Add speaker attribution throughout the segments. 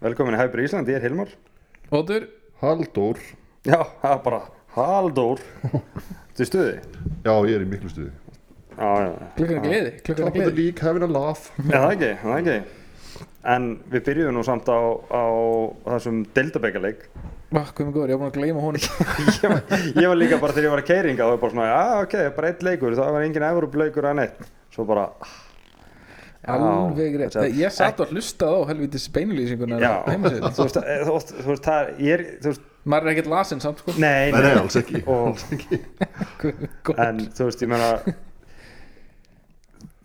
Speaker 1: Velkomin í Hæfri Ísland, ég er Hilmar
Speaker 2: Ótur,
Speaker 3: Halldór
Speaker 1: Já, það er bara Halldór Þetta er stuði
Speaker 3: Já, ég er í miklu stuði
Speaker 1: Já, já, já,
Speaker 2: klukkan er gleði, klukkan er
Speaker 3: Top of the
Speaker 2: gleði
Speaker 3: league, having a laugh
Speaker 1: Já, það er ekki, það er ekki En við byrjuðum nú samt á, á þessum deildabekaleik
Speaker 2: Vá, hvað er góður, ég var búin að gleyma honum
Speaker 1: ég, var- ég var líka bara þegar ég var að keiringa og ég bara svona, já, ok, bara eitt leikur það var engin Evrópleikur en eitt Svo bara,
Speaker 2: Alveg rétt,
Speaker 1: þetta-
Speaker 2: Nei, ég satt og hlustað á helvitis beinulýsinguna hérna
Speaker 1: já
Speaker 2: heimasíðu.
Speaker 1: Þú veist, eh, þú veist, þú veist, það er ég er, þú veist,
Speaker 2: Maður er ekkert lasin samt, sko
Speaker 1: nei,
Speaker 3: Nei, nei, alls ekki
Speaker 1: Og,
Speaker 2: Góð.
Speaker 1: en þú veist, ég meina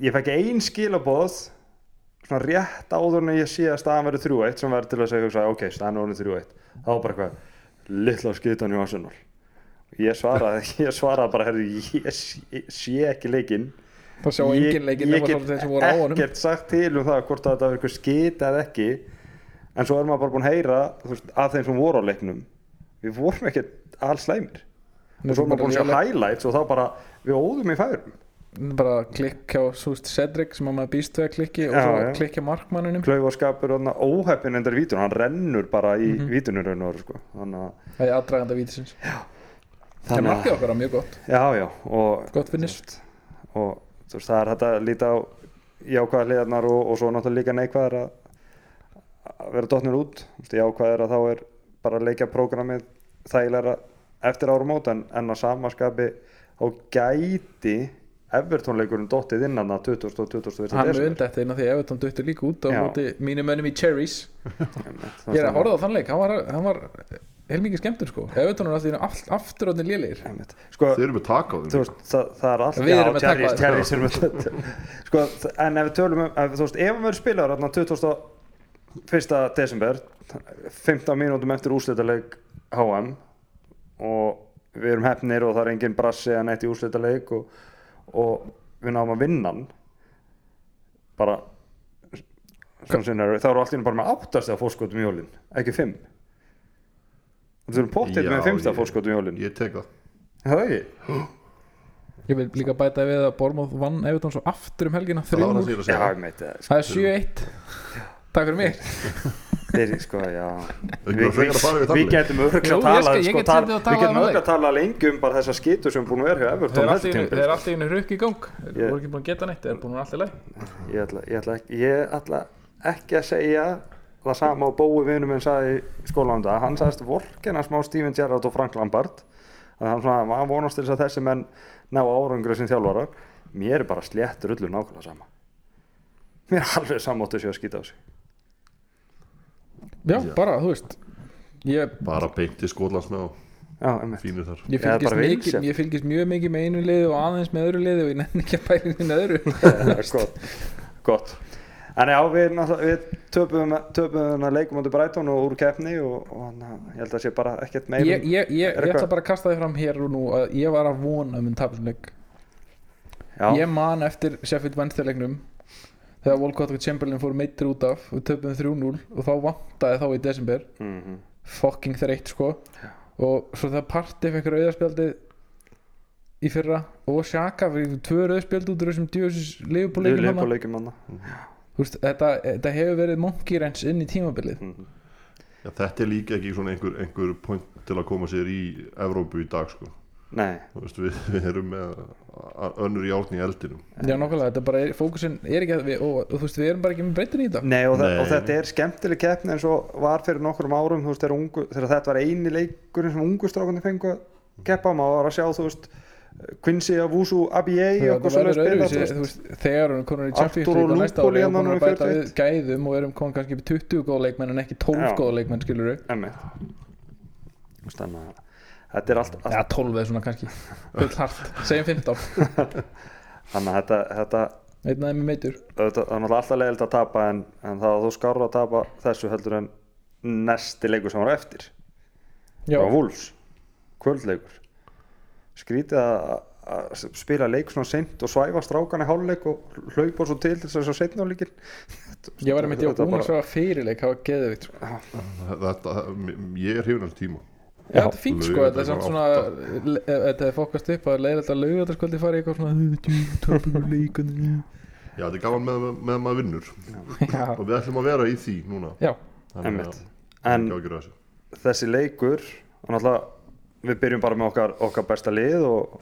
Speaker 1: ég fekk ein skilaboð svona rétt áður en ég sé að staðan verið 3-1 sem verður til að segja, hugsa, ok, staðan verður 3-1 þá var bara eitthvað litla skitan í Arsenal ég svaraði, ég svaraði bara, herri, ég sé- sé ekki leikinn
Speaker 2: Það sjá
Speaker 1: Ég-
Speaker 2: engin
Speaker 1: ég
Speaker 2: leikinn nema
Speaker 1: get
Speaker 2: svolítið þeir sem voru á honum
Speaker 1: ekkert sagt til um það hvort að þetta var eitthvað skita eða ekki en svo er maður bara búin að heyra þú veist, að þeim sem voru á leiknum við vorum ekkert alls slæmir
Speaker 2: Nú
Speaker 1: og svo er maður
Speaker 2: bara
Speaker 1: búin að sjá
Speaker 2: léleg-
Speaker 1: highlights og þá bara við óðum í færum
Speaker 2: Bara klikk hjá súst Cedric sem að maður býst við að klikki og
Speaker 1: Já,
Speaker 2: svo
Speaker 1: já.
Speaker 2: klikk hjá markmanninum
Speaker 1: klaufaskapur og óheppin endur vítun hann rennur bara í mm
Speaker 2: Mhm.
Speaker 1: -hmm. vítunur og, sko. þannig að
Speaker 2: Það er aðdraganda vítisins En
Speaker 1: að-
Speaker 2: markið okkar var mjög gott,
Speaker 1: já, já, og,
Speaker 2: gott finnist
Speaker 1: og þú veist, það er hægt að líta á jákvæða hliðarnar og, og svo náttúrulega líka neikvæðar að, að vera dotnir út Þú veist, jákvæðar að þá er bara að leikja prógramið þægilega eftir árumót en, en að samaskapi þá gæti Evertónleikurinn dottið innan að 20. og 21.
Speaker 2: Hann er
Speaker 1: desember.
Speaker 2: undættið innan því að Everton duttur líka út á
Speaker 1: Já.
Speaker 2: móti mínum önum í Cherries
Speaker 1: Einmitt.
Speaker 2: Ég er að horfa á þann leik, hann var, hann var heilmikið skemmtur sko Everton er alltaf aft, aftur áttin lélegir
Speaker 1: Einmitt. sko,
Speaker 3: Þeir eru með taka á þeim
Speaker 1: þú veist, það, það er allt
Speaker 2: Við erum að taka
Speaker 1: Terrys,
Speaker 2: það.
Speaker 1: Terrys er með þetta sko, þ- en ef við tölum um, ef, þú veist, ef hann verður spilaður þarna 21. desember 15 mínútum eftir úrslitaleik HM og við erum hefnir og það er engin brassi eða neitt í úrslitaleik og, og við náum að vinna hann bara svona sinnari, þá eru allt í einu bara með áttast af fórskotum í jólin, ekki fimm þú erum pottið með
Speaker 3: Já,
Speaker 1: fimmsta
Speaker 3: ég-
Speaker 1: fórskotum í jólin,
Speaker 3: Ég tek það
Speaker 1: Er það ekki?
Speaker 2: Ég vil líka bæta við að Bormóð vann Everton svo aftur um helgina
Speaker 3: Það var það sem
Speaker 2: þrjúmur
Speaker 3: ég er
Speaker 1: Já,
Speaker 3: að segja
Speaker 1: ég meit það
Speaker 2: Það er 7-1 Takk fyrir mig
Speaker 1: Þeir, sko, já
Speaker 3: Ekki bara frekar að fara við
Speaker 1: við
Speaker 3: þannig
Speaker 1: getum örgulega
Speaker 2: Jú, ég
Speaker 1: talað
Speaker 2: skal- ég
Speaker 1: sko,
Speaker 2: get
Speaker 1: tal-
Speaker 2: setið og
Speaker 1: Við
Speaker 2: talað
Speaker 1: getum
Speaker 2: um
Speaker 1: örgulega talað lengi um bara þessa skýtur sem er búin að vera hjá
Speaker 2: Þeir
Speaker 1: Everton þetta
Speaker 2: eru allt í einu-
Speaker 1: tímabil.
Speaker 2: þeir eru allt í einu hrukk í gang Þeir
Speaker 1: Ég-
Speaker 2: voru ekki búin að geta neitt, þeir eru búin að vera allt í leið
Speaker 1: Ég ætla- Ég ætla ekki- ég ætla ekki að segja það sama og Bói vinur minn sagði í skólanda hann sagðist vorkina smá Steven Gerrard og Frank Lampard að hann svona, hann vonast til þess að þessi menn ná árangur sem þjálfarar mér er bara slétt rullu nákvæmlega sama mér er alveg samáttu séu að skýta á sig
Speaker 2: Já, bara, þú veist Ég,
Speaker 3: Bara beint til Skotlands með á
Speaker 1: já, einmitt.
Speaker 3: Fínir þar
Speaker 2: ég,
Speaker 1: Ég er
Speaker 2: fylgist
Speaker 1: bara
Speaker 2: mikið,
Speaker 1: vinsæll.
Speaker 2: ég fylgist mjög mikið með einu liði og aðeins með öðru liði og ég nenni ekki að bæri minna öðru
Speaker 1: Já, gott, gott en já, við, náttúrulega- við töpuðum töpuðum að leikum ándu Brighton og úr keppni og, og na, ég held að sé bara ekkert meir
Speaker 2: ég, ég, ég,
Speaker 1: Er
Speaker 2: ég ætla
Speaker 1: eitthvað?
Speaker 2: bara að kasta þið fram hér og nú að ég var að vona um en tapinleik
Speaker 1: já,
Speaker 2: ég man eftir Sheffield Wednesday leiknum þegar Walcott og Chamberlain fóru meittir út af og töpum 3-0 og þá vantaði þá í desember
Speaker 1: mhm.
Speaker 2: fucking þreytt sko og svo þegar Partey fekk rauðarspjaldið í fyrra og Shaka fyrir tvö rauðspjald út úr þessum djóðsins
Speaker 1: við
Speaker 2: leifupóleikum
Speaker 1: leikum á
Speaker 2: hana
Speaker 1: leikum hann
Speaker 2: Þú veist, þetta, þetta hefur verið monkey wrench inn í tímabilið
Speaker 3: Já, Þetta er líka ekki svona einhver, einhver point til að koma sér í Evrópu í dag sko
Speaker 1: nei,
Speaker 3: Þú veist, við, við erum með a- önnur járn í eldinum
Speaker 2: já nokkulega, þetta bara er, fókusin er ekki að við, og, og þú veist, við erum bara ekki með breytin í þetta
Speaker 1: nei, og, nei.
Speaker 3: Nei.
Speaker 1: og þetta er skemmtileg keppni eins og var fyrir nokkrum árum þú veist, þegar, ungu, þegar þetta var eini leikurinn sem ungu strákunni fengu að keppa á maður var að sjá, þú veist Quincy af Wusu Abiyei
Speaker 2: Já,
Speaker 1: og
Speaker 2: það
Speaker 1: svoleiðis
Speaker 2: verður
Speaker 1: spila,
Speaker 2: öðruvísi,
Speaker 1: þú
Speaker 2: þú
Speaker 1: veist.
Speaker 2: veist, þegar hún er konar í
Speaker 1: Arthur
Speaker 2: Champions League
Speaker 1: og
Speaker 2: og næsta
Speaker 1: Lúpoli
Speaker 2: ári og hún
Speaker 1: hérna
Speaker 2: er að bæta
Speaker 1: númer
Speaker 2: við gæðum og erum konar kannski upp í 20 góða leikmenn en ekki 12
Speaker 1: Já.
Speaker 2: góða leikmenn skilur við
Speaker 1: Einmitt. Þú veist, þannig að þetta er allt, allt
Speaker 2: Já, 12 eða svona kannski Full hart, segjum 15
Speaker 1: þannig að þetta, þetta
Speaker 2: Einn aðeins með meitur
Speaker 1: auðvitað, það er náttúrulega alltaf leiðilt að tapa en, en það að þú skáru að tapa þessu heldur en næsti leikur sem var á eftir
Speaker 2: Já,
Speaker 1: frá Wolves, kvöldleikur skrítið að, að spila leik svona seint og svæfa strákan í háluleik og hlaupa svo til til þess að setna á líkin
Speaker 2: ég var einmitt ég
Speaker 1: Þetta
Speaker 2: var búin
Speaker 1: bara-
Speaker 2: að svara fyrirleik það var geðvitt sko.
Speaker 3: Þetta, þetta- ég er hrifin alveg tíma
Speaker 2: Já, þetta er fínt sko, þetta er samt
Speaker 3: Laugardagskvöld
Speaker 2: svona le- Þetta er fokast upp að leiðilegt að laugardarskvöldi fara í eitthvað svona Töpunum leikunum
Speaker 3: Já, þetta er gaman með, með maður vinnur
Speaker 2: Já,
Speaker 3: og við ætlum að vera í því núna
Speaker 2: já
Speaker 1: Einmitt. en
Speaker 3: ekki ágjur þessu
Speaker 1: þessi leikur og náttúrulega við byrjum bara með okkar, okkar besta lið og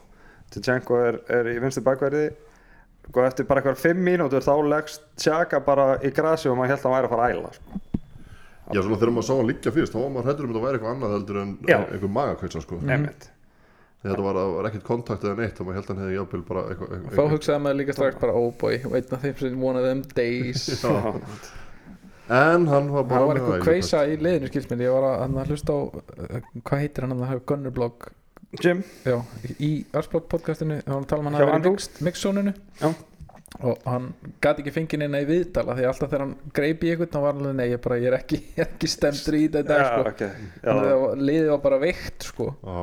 Speaker 1: Tchenko er, er í vinstu bakverði og eftir bara eitthvað fimm mínútur þá leggst Tjaka bara í grasi og maður held að hann væri að fara að æla sko.
Speaker 3: Já, svona þegar maður sá hann liggja fyrst þá var maður hættur um að það væri eitthvað annað heldur en
Speaker 1: Já.
Speaker 3: einhver magakveitsa sko
Speaker 1: einmitt
Speaker 3: Þetta var, það var ekkert kontakt eða neitt þá maður held að hann hefði jafnvel bara eitthvað
Speaker 2: Þá hugsaði maður líka strax bara oh boy, og einn af þeim sem one of them days
Speaker 3: Já. En hann var bara
Speaker 2: Það var
Speaker 3: með
Speaker 2: eitthvað
Speaker 3: það í
Speaker 2: kveisa í liðinu skilsmið Ég var að, hann að hlusta á uh, Hvað heitir hann að hafa Gunnerblog
Speaker 1: Jim,
Speaker 2: Já, í Arsblog podcastinu Það var að tala um hann
Speaker 1: Hjá
Speaker 2: að vera
Speaker 1: Andrew?
Speaker 2: í mix- mixzóninu
Speaker 1: Já.
Speaker 2: Og hann gati ekki fengið neina í viðtala Því alltaf þegar hann greip í eitthvað Þá var hann alveg nei, ég, bara, ég er ekki, ég er ekki stemdur í þetta
Speaker 1: já,
Speaker 2: sko.
Speaker 1: ok já,
Speaker 2: Þannig að það var- liðið var bara veikt sko.
Speaker 3: Já,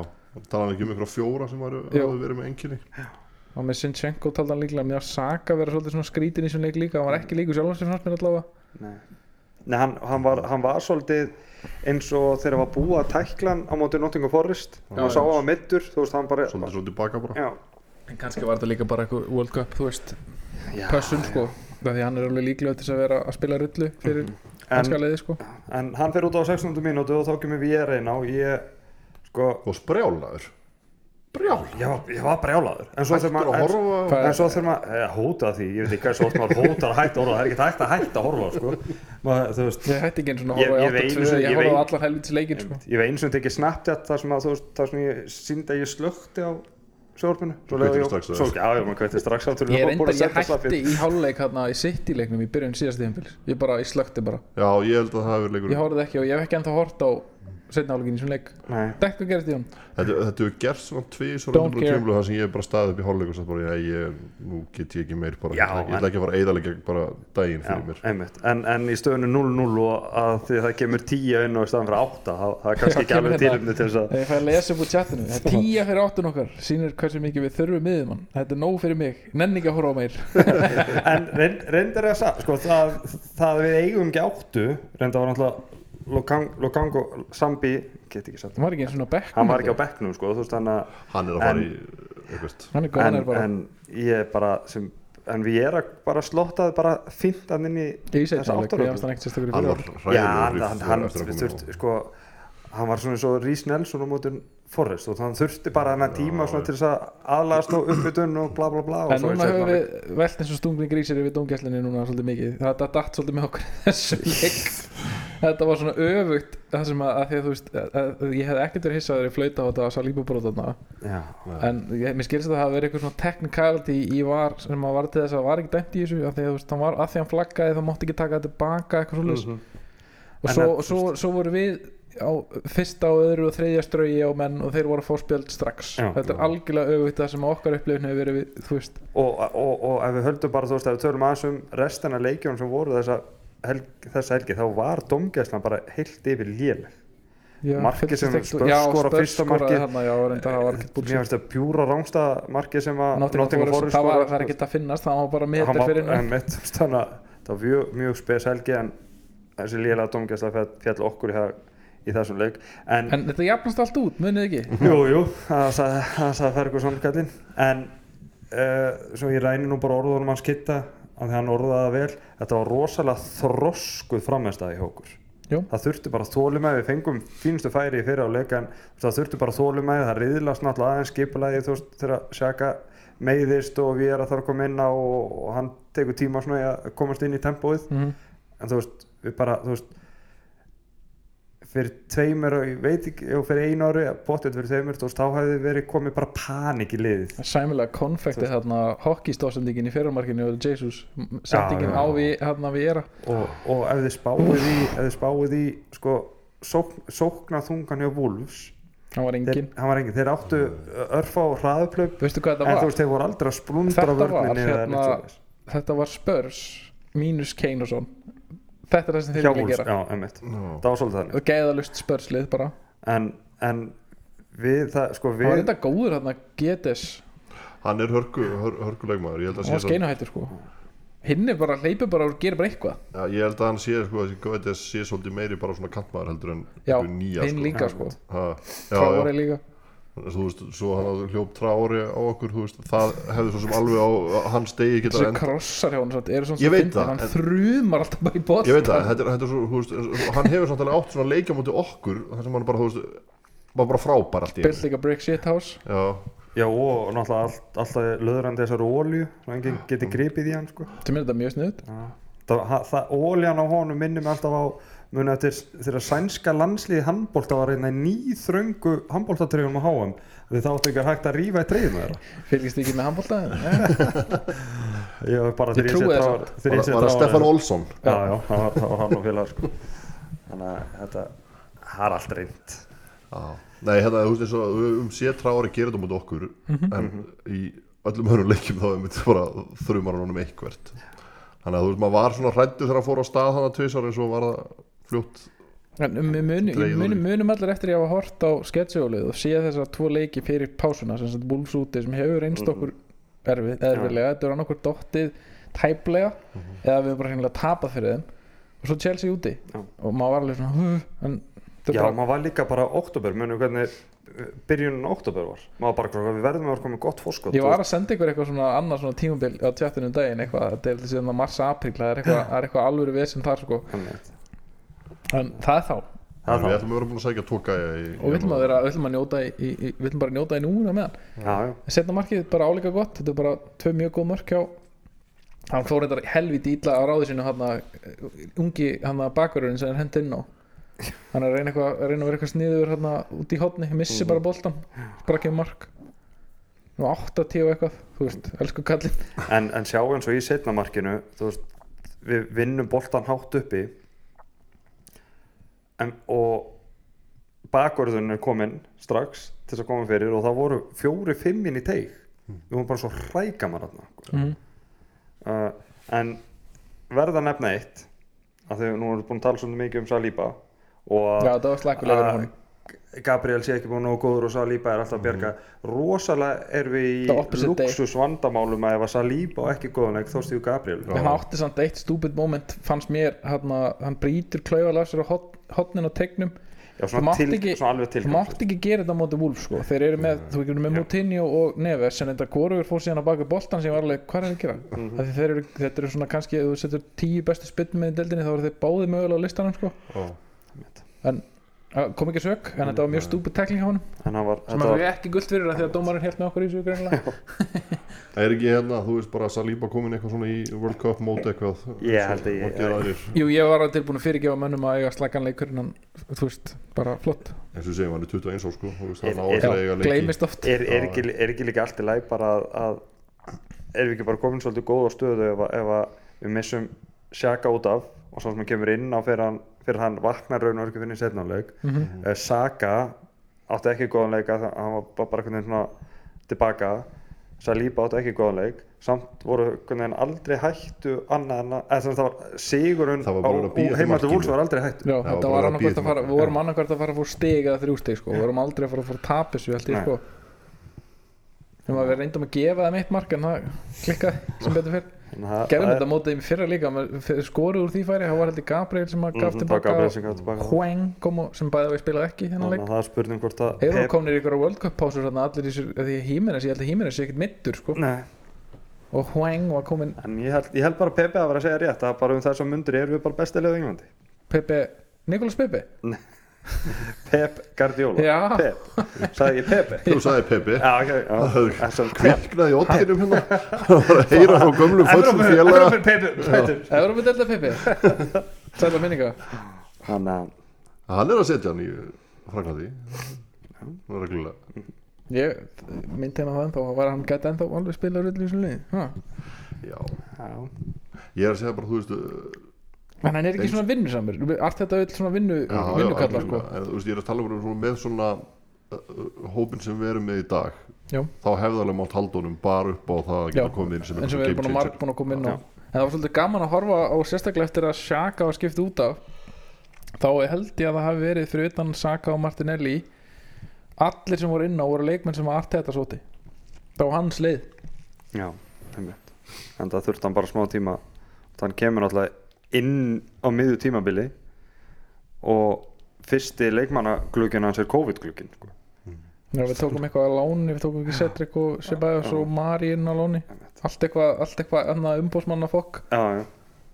Speaker 3: tala hann ekki um einhverja fjóra sem varu,
Speaker 2: Jú.
Speaker 3: hafðu verið með enginni
Speaker 2: Og með Sinchenko taldi hann líklega Mér að Saka vera svolítið svona skrítin í sem leik líka Hann var ekki líku sjálfum sem fannst mér allavega
Speaker 1: nei. Nei, hann, hann, var, hann var svolítið eins og þegar hann var búið að tækla hann á móti Nottingham Forest
Speaker 3: Já,
Speaker 1: hann sá
Speaker 3: já.
Speaker 1: hann middur, þú veist hann bara
Speaker 3: Svolítið svo tilbaka bara
Speaker 1: já,
Speaker 2: En kannski var þetta líka bara eitthvað World Cup, þú veist,
Speaker 1: já. Mhm.
Speaker 2: pössun sko Það því hann er alveg líklega til þess að vera að spila rullu fyrir
Speaker 1: en,
Speaker 2: kannska leiði sko
Speaker 1: en hann fyrir út á 16. mínútu og þá kemur við ég reyna og ég sko,
Speaker 3: Og sprjálaður Brjálaður
Speaker 1: ég var, ég var brjálaður en svo þegar
Speaker 3: Hættur að
Speaker 1: maður
Speaker 3: horfa á-
Speaker 1: en, en svo þegar maður eh, hóta því, ég veit ekki hvað svo oft maður hótar að hætta að horfa, það er ekki hægt að hætta að horfa sko. maður, þú veist
Speaker 2: Ég hætti ekki einu svona
Speaker 1: Ég-
Speaker 2: að horfa
Speaker 1: ég
Speaker 2: í
Speaker 1: veit-
Speaker 2: 82
Speaker 1: ég
Speaker 2: Ég horfa á
Speaker 1: veit-
Speaker 2: allar helvits leikinn sko
Speaker 1: ég veit eins og þetta ekki Snapchat þar sem að þú veist, þar sem ég síndi að ég slökti á sjórfinu svo
Speaker 3: Þú
Speaker 1: leiði
Speaker 3: kveitir
Speaker 1: ég,
Speaker 3: strax á
Speaker 1: svo
Speaker 3: þessu.
Speaker 1: já, já, maður kveitir strax á því
Speaker 2: Ég reyndar, ég hætti í hálfleik hérna í sitt í leiknum í byrjun síðast tíðanbils Ég bara, ég slökti bara
Speaker 3: Já, ég held að það hafi verið leikur
Speaker 2: Ég horfði ekki og ég hef ekki ennþá hort á setna hálfleikin í svona leik
Speaker 1: Nei,
Speaker 2: Dekka gerist í hún
Speaker 3: Þetta þetta hefur gert svona tvið
Speaker 2: Don't
Speaker 3: svona tímlu
Speaker 2: care.
Speaker 3: tímlu þar sem ég hef bara staðið upp í hálfleik og sagt bara, já, ég, nú get ég ekki meir bara
Speaker 1: Já,
Speaker 3: Ég ætla- ég
Speaker 1: en-
Speaker 3: ætla ekki að fara að eðalega bara daginn
Speaker 1: já,
Speaker 3: fyrir mér
Speaker 1: einmitt en, en í stöðunni 0-0 og að því það kemur 10 inn og í staðan fyrir 8 það, það er kannski ekki
Speaker 2: kemur
Speaker 1: alveg
Speaker 2: hérna.
Speaker 1: tilumni til þess að
Speaker 2: Ég fæ að lesa upp úr chatinu Það er Tíja fyrir áttun okkar Sýnir hversu mikið við þurfum miðum hann Þetta er nóg fyrir mig Nenni ekki að horfa á meir
Speaker 1: En reynd- reyndar er það, sko, það, það við eigum ekki áttu, reyndar var náttúrulega Lokang- Lokango, Sambi, get ekki sagt,
Speaker 2: Hann var ekki eins og svona bekk
Speaker 1: hann var ekki á bekknum, sko, þú veist, hann að,
Speaker 3: Hann er að fara í eitthvað
Speaker 2: Hann er
Speaker 1: en,
Speaker 2: góðan er bara
Speaker 1: en ég bara, sem, en við erum bara slottaði bara fintan inn í
Speaker 2: Ég segi
Speaker 1: þessa
Speaker 2: það alveg, ég
Speaker 1: áttaröku.
Speaker 2: varst hann ekkert sérstaklega
Speaker 3: Hann var
Speaker 2: fyrir
Speaker 3: hræðilegur
Speaker 1: Já, hann,
Speaker 3: í-
Speaker 1: hann, hann
Speaker 3: eftir að koma
Speaker 1: þurft,
Speaker 3: inn á.
Speaker 1: sko, hann var svona eins og Rís Nelson á mótun Forrest og hann þurfti bara hann að tíma svona til þess að aðlast og uppbytun og bla bla bla og
Speaker 2: En
Speaker 1: svo í
Speaker 2: núna
Speaker 1: seinna
Speaker 2: höfum
Speaker 1: leik.
Speaker 2: við velt eins og stungni grísir yfir dómgæslinni núna svolítið mikið Þetta datt svolítið með okkur í þessum leik Þetta var svona öfugt það sem að, að því að þú veist að, að ég hefði ekkert verið hissaður í flauta á þetta að sá lífabrótarna
Speaker 1: Já,
Speaker 2: en ég, mér skilst að það hafi verið eitthvað svona technicality í var sem að var til þess að var ekki dæmt í þessu að því að, þú veist, hann var, að því hann flaggaði það mátti ekki taka þetta baka eitthvað svolítið og
Speaker 1: Mhm. En
Speaker 2: svo,
Speaker 1: það-
Speaker 2: og svo, svo voru við á fyrsta og öðru og þriðja strögi á menn og þeir voru að fá spjöld strax
Speaker 1: Já.
Speaker 2: þetta er algjörlega öfugt það sem okkar upplifin hefur verið við, þú veist,
Speaker 1: og, og, og ef við höldum bara þú veist ef við tölum aðeins um restina leikjum sem voru þessa helgi, þessa helgi þá var domgæslan bara heilt yfir léleg
Speaker 2: já,
Speaker 1: Markið
Speaker 2: fylgist
Speaker 1: sem
Speaker 2: ekkert-
Speaker 1: Spurs
Speaker 2: já,
Speaker 1: skora
Speaker 2: Spurs
Speaker 1: fyrsta
Speaker 2: skoraði
Speaker 1: markið.
Speaker 2: þarna, já, reyndar, það var ekkert
Speaker 1: mér
Speaker 2: búlsinn
Speaker 1: finnst það pjúra rángsta markið sem að
Speaker 2: Nottingham Forest, það var það er ekki að finnast það var bara
Speaker 1: hann
Speaker 2: metur
Speaker 1: var
Speaker 2: fyrir hennar
Speaker 1: en mitt þú veist, þannig að það var mjög, mjög spes helgi en þessi lélega domgæsla fell, fell okkur í, það, í þessum leik en,
Speaker 2: en þetta jafnast allt út, munið ekki
Speaker 1: jú, jú, það sagði, það sagði Ferguson kallinn en uh, svo ég ræni nú bara orðunum hans kitta að hann orðaði það vel þetta var rosalega þroskuð framestæði hjá okkur
Speaker 2: Jú.
Speaker 1: það þurfti bara þólumæði, við fengum fínustu færi í fyrra á leika en það þurfti bara þólumæði, það riðlast náttúrulega aðeins skipulagi þú veist þegar Sjaka meiðist og við erum að þarf að koma inn á og, og hann tekur tíma svona í að komast inn í tempóið
Speaker 2: Mhm.
Speaker 1: en þú veist, við bara þú veist fyrir tveimur, og ég veit ekki og fyrir einu ári, bóttið fyrir tveimur þú veist, þá hefði verið komið bara panik í liðið
Speaker 2: sæmilega konfekti þarna hokkistóðsendingin í fyrirmarkinu og Jesus sendingin
Speaker 1: já,
Speaker 2: á
Speaker 1: já.
Speaker 2: við hérna við era
Speaker 1: og, og ef þið spáið í, ef þið spáið í sko, sók, sókna þungan hjá Wolves
Speaker 2: hann var
Speaker 1: þeir,
Speaker 2: engin,
Speaker 1: hann var engin, þeir áttu örfa og hraðuplöp
Speaker 2: veistu hvað
Speaker 1: en þú
Speaker 2: þetta var
Speaker 1: veist, þeir voru aldrei að sprundra
Speaker 2: Þetta var,
Speaker 1: vörninni eða
Speaker 2: hérna,
Speaker 1: neitt svoleiðis.
Speaker 2: þetta var Spurs mínus Kane og svon þetta er það sem þeir
Speaker 1: hjá
Speaker 2: vilja
Speaker 1: Wolves,
Speaker 2: gera
Speaker 1: já, emmitt
Speaker 3: Já.
Speaker 1: það var svolítið þannig
Speaker 2: og gæðalust Spurslið bara
Speaker 1: en, en við, það, sko,
Speaker 2: hann var
Speaker 1: við
Speaker 2: þetta góður hérna Getes
Speaker 3: Hann er hörku, hör, hörkuleikmaður Ég held að
Speaker 2: hann
Speaker 3: sé
Speaker 2: var
Speaker 3: samt-
Speaker 2: skeinahættur sko hinn er bara hleypur bara og gerir bara eitthvað
Speaker 3: Já, ég held að hann sé, sko, þessi Guedes sé svolítið meiri bara svona kantmaður heldur en
Speaker 2: já,
Speaker 3: einhver nýja,
Speaker 2: hinn
Speaker 3: sko.
Speaker 2: líka sko
Speaker 3: Ha, já,
Speaker 2: Traore
Speaker 3: já,
Speaker 2: líka
Speaker 3: Þannig að þú veist, svo hann að hljóp trári á okkur, þú veist, það hefði svo sem alveg á á hans degi geta
Speaker 2: þessi
Speaker 3: end
Speaker 2: krossar hjá hann samt, eru svona svo
Speaker 3: Ég veit
Speaker 2: fyndnir,
Speaker 3: það,
Speaker 2: hann
Speaker 3: en-
Speaker 2: þrjumar alltaf bara í bótt
Speaker 3: Ég veit það, þetta er, þetta er svo, þú veist, eins og- hann hefur samt alveg átt svona leikja múti okkur, þar sem hann bara, þú veist, var bara frábær allt í einu.
Speaker 2: Built like a brick shit house
Speaker 3: Já,
Speaker 1: Já og náttúrulega allt, alltaf löðrandi þessar ólju og enginn geti gripið í hann sko.
Speaker 2: Þetta minnir þetta mjög sniðut
Speaker 1: það, ha- það, Óljan á honum minnir mig alltaf á muni eftir þegar sænska landsliði handbólta var einna nýþröngu handbóltatryggjum á háum því þá áttu ekki að hægt að rífa í treyðum þeirra
Speaker 2: Fylgist ekki með handbólta Nei,
Speaker 1: Ég var bara
Speaker 2: Ég
Speaker 1: þegar ég
Speaker 2: trúi
Speaker 1: sé
Speaker 2: þessu.
Speaker 1: dráður
Speaker 3: var
Speaker 1: Þegar ég sé
Speaker 3: var það Stefan
Speaker 1: dráður
Speaker 3: Olsson?
Speaker 1: Já, já, það var, það var hann og félag sko. Þannig að þetta það er allt reynd
Speaker 3: Já. Nei, hérna, þú veist, eins og við um sé trári gerir þetta múti okkur, en í öllum öðrum leikjum þá er mitt bara þrjumar hann honum eitthvert. Þannig að þú veist, maður var svona hrættu þegar hann fór á stað þannig að tvisar eins og var það fljótt.
Speaker 2: En við munum,
Speaker 3: Dregið
Speaker 2: við
Speaker 3: úr
Speaker 2: munum,
Speaker 3: því.
Speaker 2: munum allir eftir ég hafa hort á sketsjólið og séð þessar tvo leiki fyrir pásuna sem sagt Wolves úti sem hefur reynst okkur erfið, erfiðlega, þetta er annað okkur dottið tæplega
Speaker 3: Mhm.
Speaker 2: eða við höfum bara hreinlega tapað fyrir þeim og svo Chelsea úti
Speaker 1: Já.
Speaker 2: og maður var alveg svona "Huh", en þetta
Speaker 1: Já,
Speaker 2: er bara,
Speaker 1: maður var líka bara oktober munum hvernig uh, byrjunin á oktober var maður bara, "Hvað, við verðum að vera komið gott fórskot
Speaker 2: ég var að senda ykkur eitthvað svona annað svona tímabil á tjáttunum daginn eitthvað, þetta er til síðan að mars-apríl það er eitthvað, það er eitthvað alvöru vesinn þar sko
Speaker 1: Það
Speaker 2: en það er þá
Speaker 1: er
Speaker 3: Við
Speaker 1: það
Speaker 3: ætlum að vera búin að sækja tóka í... hérna.
Speaker 2: og við ætlum að vera, við ætlum að njóta í, í, í- við ætlum bara að njóta í núna meðan
Speaker 1: Já, já
Speaker 2: setna markið bara áleika gott þetta er bara tvö mjög góð mörk hjá hann fór þetta helviti illa á ráði sinu hann ungi hann að bakverðurinn sem er hend inn á hann er að reyna, eitthvað, að reyna að vera eitthvað sniður hann út í hotni, missi bara boltan sprakkið mark nú 8-10 og eitthvað, þú veist, elsku kallinn
Speaker 1: en, en sjá eins og í setna markinu þú veist, við vinnum boltan hátt uppi en, og bakvörðun er komin strax til þess að koma fyrir og það voru fjóri fimmin í teig við vorum bara svo hrækamar þarna
Speaker 2: Mhm.
Speaker 1: uh, en verða nefna eitt að þau nú erum búin að tala svolítið mikið um Saliba og að
Speaker 2: já, það var slakkulega
Speaker 1: Ah,
Speaker 2: verið honum
Speaker 1: Gabriel sé ekki búin nógu góður og Saliba er alltaf að bjarga rosalega er við í
Speaker 2: The Mhm. opposite day.
Speaker 1: luxus vandamálum að ef að Saliba á ekki góðan leik þá stíðu Gabriel
Speaker 3: Já.
Speaker 2: en hann átti samt eitt stúpid moment fannst mér, hann, hann brýtur klaufa sér á hot, hotnin og tegnum
Speaker 1: Já,
Speaker 2: Þú
Speaker 1: svona,
Speaker 2: mátt
Speaker 1: til,
Speaker 2: ekki-
Speaker 1: svona alveg
Speaker 2: Þú
Speaker 1: tilgang
Speaker 2: mátt ekki gera þetta á móti Wolf sko. þeir eru með, þú veist, með Moutinho og Neves en þetta korugur fór síðan að baka boltan sem var alveg, hvað er það að gera? Mm -hmm. þeir eru, þetta eru svona kannski, ef þú setur tíu bestu spynnum með í deildinni þá eru þeir báði mögulega á listanum sko.
Speaker 3: Já.
Speaker 2: en að, kom ekki sök, en þetta var mjög stúpid tekling hjá honum
Speaker 1: en hann var,
Speaker 2: sem
Speaker 1: þetta
Speaker 2: að
Speaker 1: var
Speaker 2: við ekki gult fyrir það því að dómarinn held með okkur í þessu greinlega
Speaker 3: Það er ekki hérna, þú veist, bara Saliba komin eitthvað svona í World Cup móti eitthvað.
Speaker 1: Ég held að ég-
Speaker 3: Og gera aðrir,
Speaker 2: Jú, ég var alveg tilbúin að fyrirgefa mönnum að eiga slagan leikur en hann, þú veist, bara flott
Speaker 3: eins og segjum, hann er 21 ár sko, þú veist,
Speaker 1: Er-
Speaker 3: hann á
Speaker 1: er-
Speaker 3: alltaf að eiga leiki.
Speaker 2: gleymist oft
Speaker 1: er, er, ekki, er ekki líka allt í læg bara að, að erum við ekki bara komin svolítið góða stöðu ef, að- ef að við missum Sjaka út af og svo sem hann kemur inn á fyrir hann, fyrir hann vaknar raun og ekki finnir setnáleik
Speaker 2: Mhm.
Speaker 1: mm
Speaker 3: Mhm.
Speaker 1: -hmm. Saka átti ekki góðan leik að hann var bara- bara einhvern veginn svona tilbaka Saliba átti ekki góðan leik samt voru einhvern veginn aldrei hættu annað en að eða sem sagt það var sigurinn
Speaker 3: Það var bara verið að bíða eftir
Speaker 1: heima til
Speaker 3: markinu.
Speaker 1: vúls var aldrei hættu
Speaker 2: Já,
Speaker 3: var
Speaker 2: þetta
Speaker 3: bara
Speaker 2: var
Speaker 3: að
Speaker 2: annarkvært
Speaker 3: bíða
Speaker 2: að fara,
Speaker 3: tíma.
Speaker 2: við vorum annarkvært að fara að fór stig eða þrjú stig sko, við vorum aldrei að fara að fór tapis við allt í
Speaker 1: Nei.
Speaker 2: sko Nefnum að við reyndum að gefa þeim eitt mark en það klikkaði sem betur fyrr Gerðum þetta mótið þeim í fyrra líka, maður fyrir- skoruð úr því færi, það var heldur Mhm, Gabriel sem að gaf tilbaka og
Speaker 1: tilbaka
Speaker 2: Hwang kom og sem bæði að við spilaði ekki þennan
Speaker 1: þannig
Speaker 2: hérna leik
Speaker 1: að það er spurning hvort að
Speaker 2: Þeir eru kominir ykkur á World Cup pásur þarna allir í sér, því Hímenes, ég held að Hímenes sé ekkert middur sko
Speaker 1: Nei,
Speaker 2: og Hwang var komin
Speaker 1: En ég held, ég held bara að Pepe að vera að segja rétt að bara um þessar mundur erum við bara besta liðið í Englandi
Speaker 2: Pepe, Nikolas Pepe
Speaker 1: Pep Guardiola
Speaker 2: Já.
Speaker 1: Pep, sagði ég Pepe
Speaker 3: Þú sagði Pepe.
Speaker 1: Já, ok, já En svo- Pep.
Speaker 3: kviknaði í oddinum hérna hann var að heyra frá gömlu föllum
Speaker 1: Evrópu-
Speaker 3: félaga
Speaker 1: Evrópu, Pepe, Pepe
Speaker 2: Európa Delta Pepe Sæla minninga
Speaker 1: Þannig að
Speaker 3: hann er að setja hann í Franklandi reglulega
Speaker 2: Ég myndi hann á það ennþá var hann gæti ennþá alveg spila rullu í svona liði ha.
Speaker 3: já
Speaker 1: já.
Speaker 3: ég er að segja bara þú veist uh,
Speaker 2: en hann er ekki svona vinnusamur allt þetta öll svona vinnu,
Speaker 3: já, já,
Speaker 2: vinnukallar sko.
Speaker 3: algjörlega. En þú veist ég er að tala um svona, með svona uh, hópin sem við erum með í dag
Speaker 2: Já.
Speaker 3: þá hefði alveg mátt haldunum bara upp á það að geta
Speaker 2: Já.
Speaker 3: komið inn sem
Speaker 2: eins og við erum búin að marg búin að koma inn á
Speaker 1: Já.
Speaker 2: en það var svolítið gaman að horfa á sérstaklega eftir að Shaka var skipt út af þá held ég að það hafi verið fyrir utan Shaka og Martinelli allir sem voru inn á voru leikmenn sem var Arteta sóti þá hans leið
Speaker 1: Já, einmitt En það þurfti hann bara smá tíma Þann kemur alltaf inn á miðju tímabili og fyrsti leikmannaglugin hans er COVID-glugin sko.
Speaker 2: Já, við tókum eitthvað á láni, við tókum ekki Cedric og Sebæðars og Mari inn á láni Allt eitthvað, allt eitthvað annað umbósmanna fokk
Speaker 1: já, já.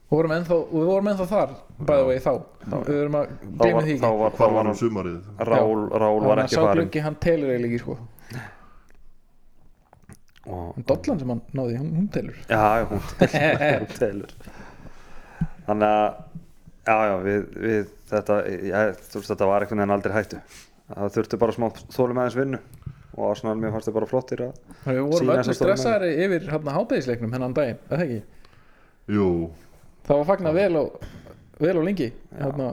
Speaker 2: og vorum ennþá, og við vorum ennþá þar bæði vegi þá, við vorum að
Speaker 1: Þá,
Speaker 2: gleyma
Speaker 1: var, þá
Speaker 2: því
Speaker 1: var,
Speaker 2: ekki
Speaker 1: þá
Speaker 3: Hvar var
Speaker 1: var
Speaker 3: hann sumarið?
Speaker 1: hann Rál, Rál
Speaker 2: Þannig
Speaker 1: var
Speaker 2: að
Speaker 1: ekki
Speaker 2: sá
Speaker 1: farin
Speaker 2: gluggi, hann telur eiginlega ekki sko
Speaker 1: og,
Speaker 2: en dollan sem hann náði, hún, hún telur
Speaker 1: Já, já, hún telur, hún telur. Þannig að Já, já, við, við þetta, já, þú veist, þetta var einhvern veginn aldrei í hættu Það þurfti bara smá þólum aðeins vinnu og Arsenal, mér fannst þið bara flottir að
Speaker 2: Þannig að Við vorum
Speaker 1: Sína
Speaker 2: öllu
Speaker 1: sem stóru menn.
Speaker 2: stressaðari yfir hann hádegisleiknum hennan daginn, eða ekki?
Speaker 3: Jú,
Speaker 2: Það var fagnað vel og, vel og lengi Þarna,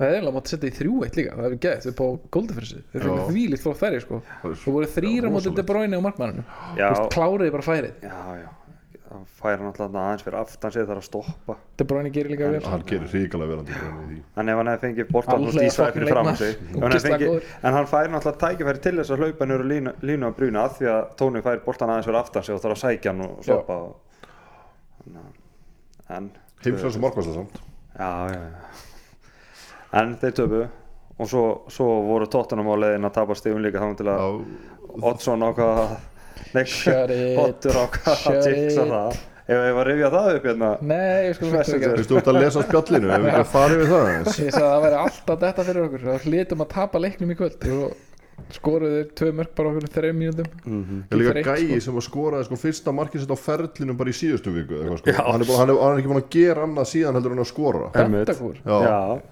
Speaker 2: Það er eiginlega mátt setja í þrjú eitt líka Það er gett upp á Goldafyrsi Þeir
Speaker 3: Já.
Speaker 2: eru þvílíkt frá þærri sko
Speaker 3: það
Speaker 2: Svo voru þrýra
Speaker 3: Já,
Speaker 2: mótið De
Speaker 3: rosalegt.
Speaker 2: Bruyne og markmanninu
Speaker 1: Já,
Speaker 2: Kláriði bara færið
Speaker 1: já, já Það færa náttúrulega aðeins fyrir aftan sér þar að stoppa
Speaker 2: De Bruyne gerir líka vel
Speaker 3: er hann gerir ríkalega verandi í því
Speaker 1: Þannig ef hann hefði fengið bortan og
Speaker 2: Allega
Speaker 1: dísaði
Speaker 2: fucking
Speaker 1: fyrir fram
Speaker 2: leikmaður.
Speaker 1: sig Ef hann hefði
Speaker 2: Ógeðslega
Speaker 1: fengið-
Speaker 2: góður.
Speaker 1: En hann fær náttúrulega tækifæri til þess að hlaupa nýra línu, línu að bruna af því að Tóni fær bortan aðeins fyrir aftan sig og þarf að sækja hann og stoppa og... Þannig að- En
Speaker 3: Heimslega sem markvæsla samt
Speaker 1: Já, já, já. En þeir töpu og svo, svo voru tóttunum á leiðin að tapa stífum líka þá til að
Speaker 3: Já,
Speaker 1: Oddsson ákvað að
Speaker 2: Shut
Speaker 1: Nei,
Speaker 2: it.
Speaker 1: Oddur ákvað að
Speaker 2: Shut
Speaker 1: jinxa
Speaker 2: it.
Speaker 1: það Ef ég var að rifja það upp hérna
Speaker 2: Nei, við skulum ekki
Speaker 1: Messenger.
Speaker 2: ekki
Speaker 3: veistu þú ert að lesa á spjallinu ef við ekki að fara yfir það aðeins?
Speaker 2: Ég sagði að það væri alltaf detta fyrir okkur Það hlutum að tapa leiknum í kvöld og skoruðu þeir tvö mörg bara okkur þreim mínútum
Speaker 3: Það er líka
Speaker 2: Fyrir eitt,
Speaker 3: gæi sem að skoraði sko fyrsta markið sitt á ferlinum bara í síðustu viku eða eitthvað, sko. hann, er bara, hann, er, hann er ekki búin að gera annað síðan heldur en að skora
Speaker 1: Einmitt.
Speaker 2: Bentakur
Speaker 3: Já, já.
Speaker 1: Já,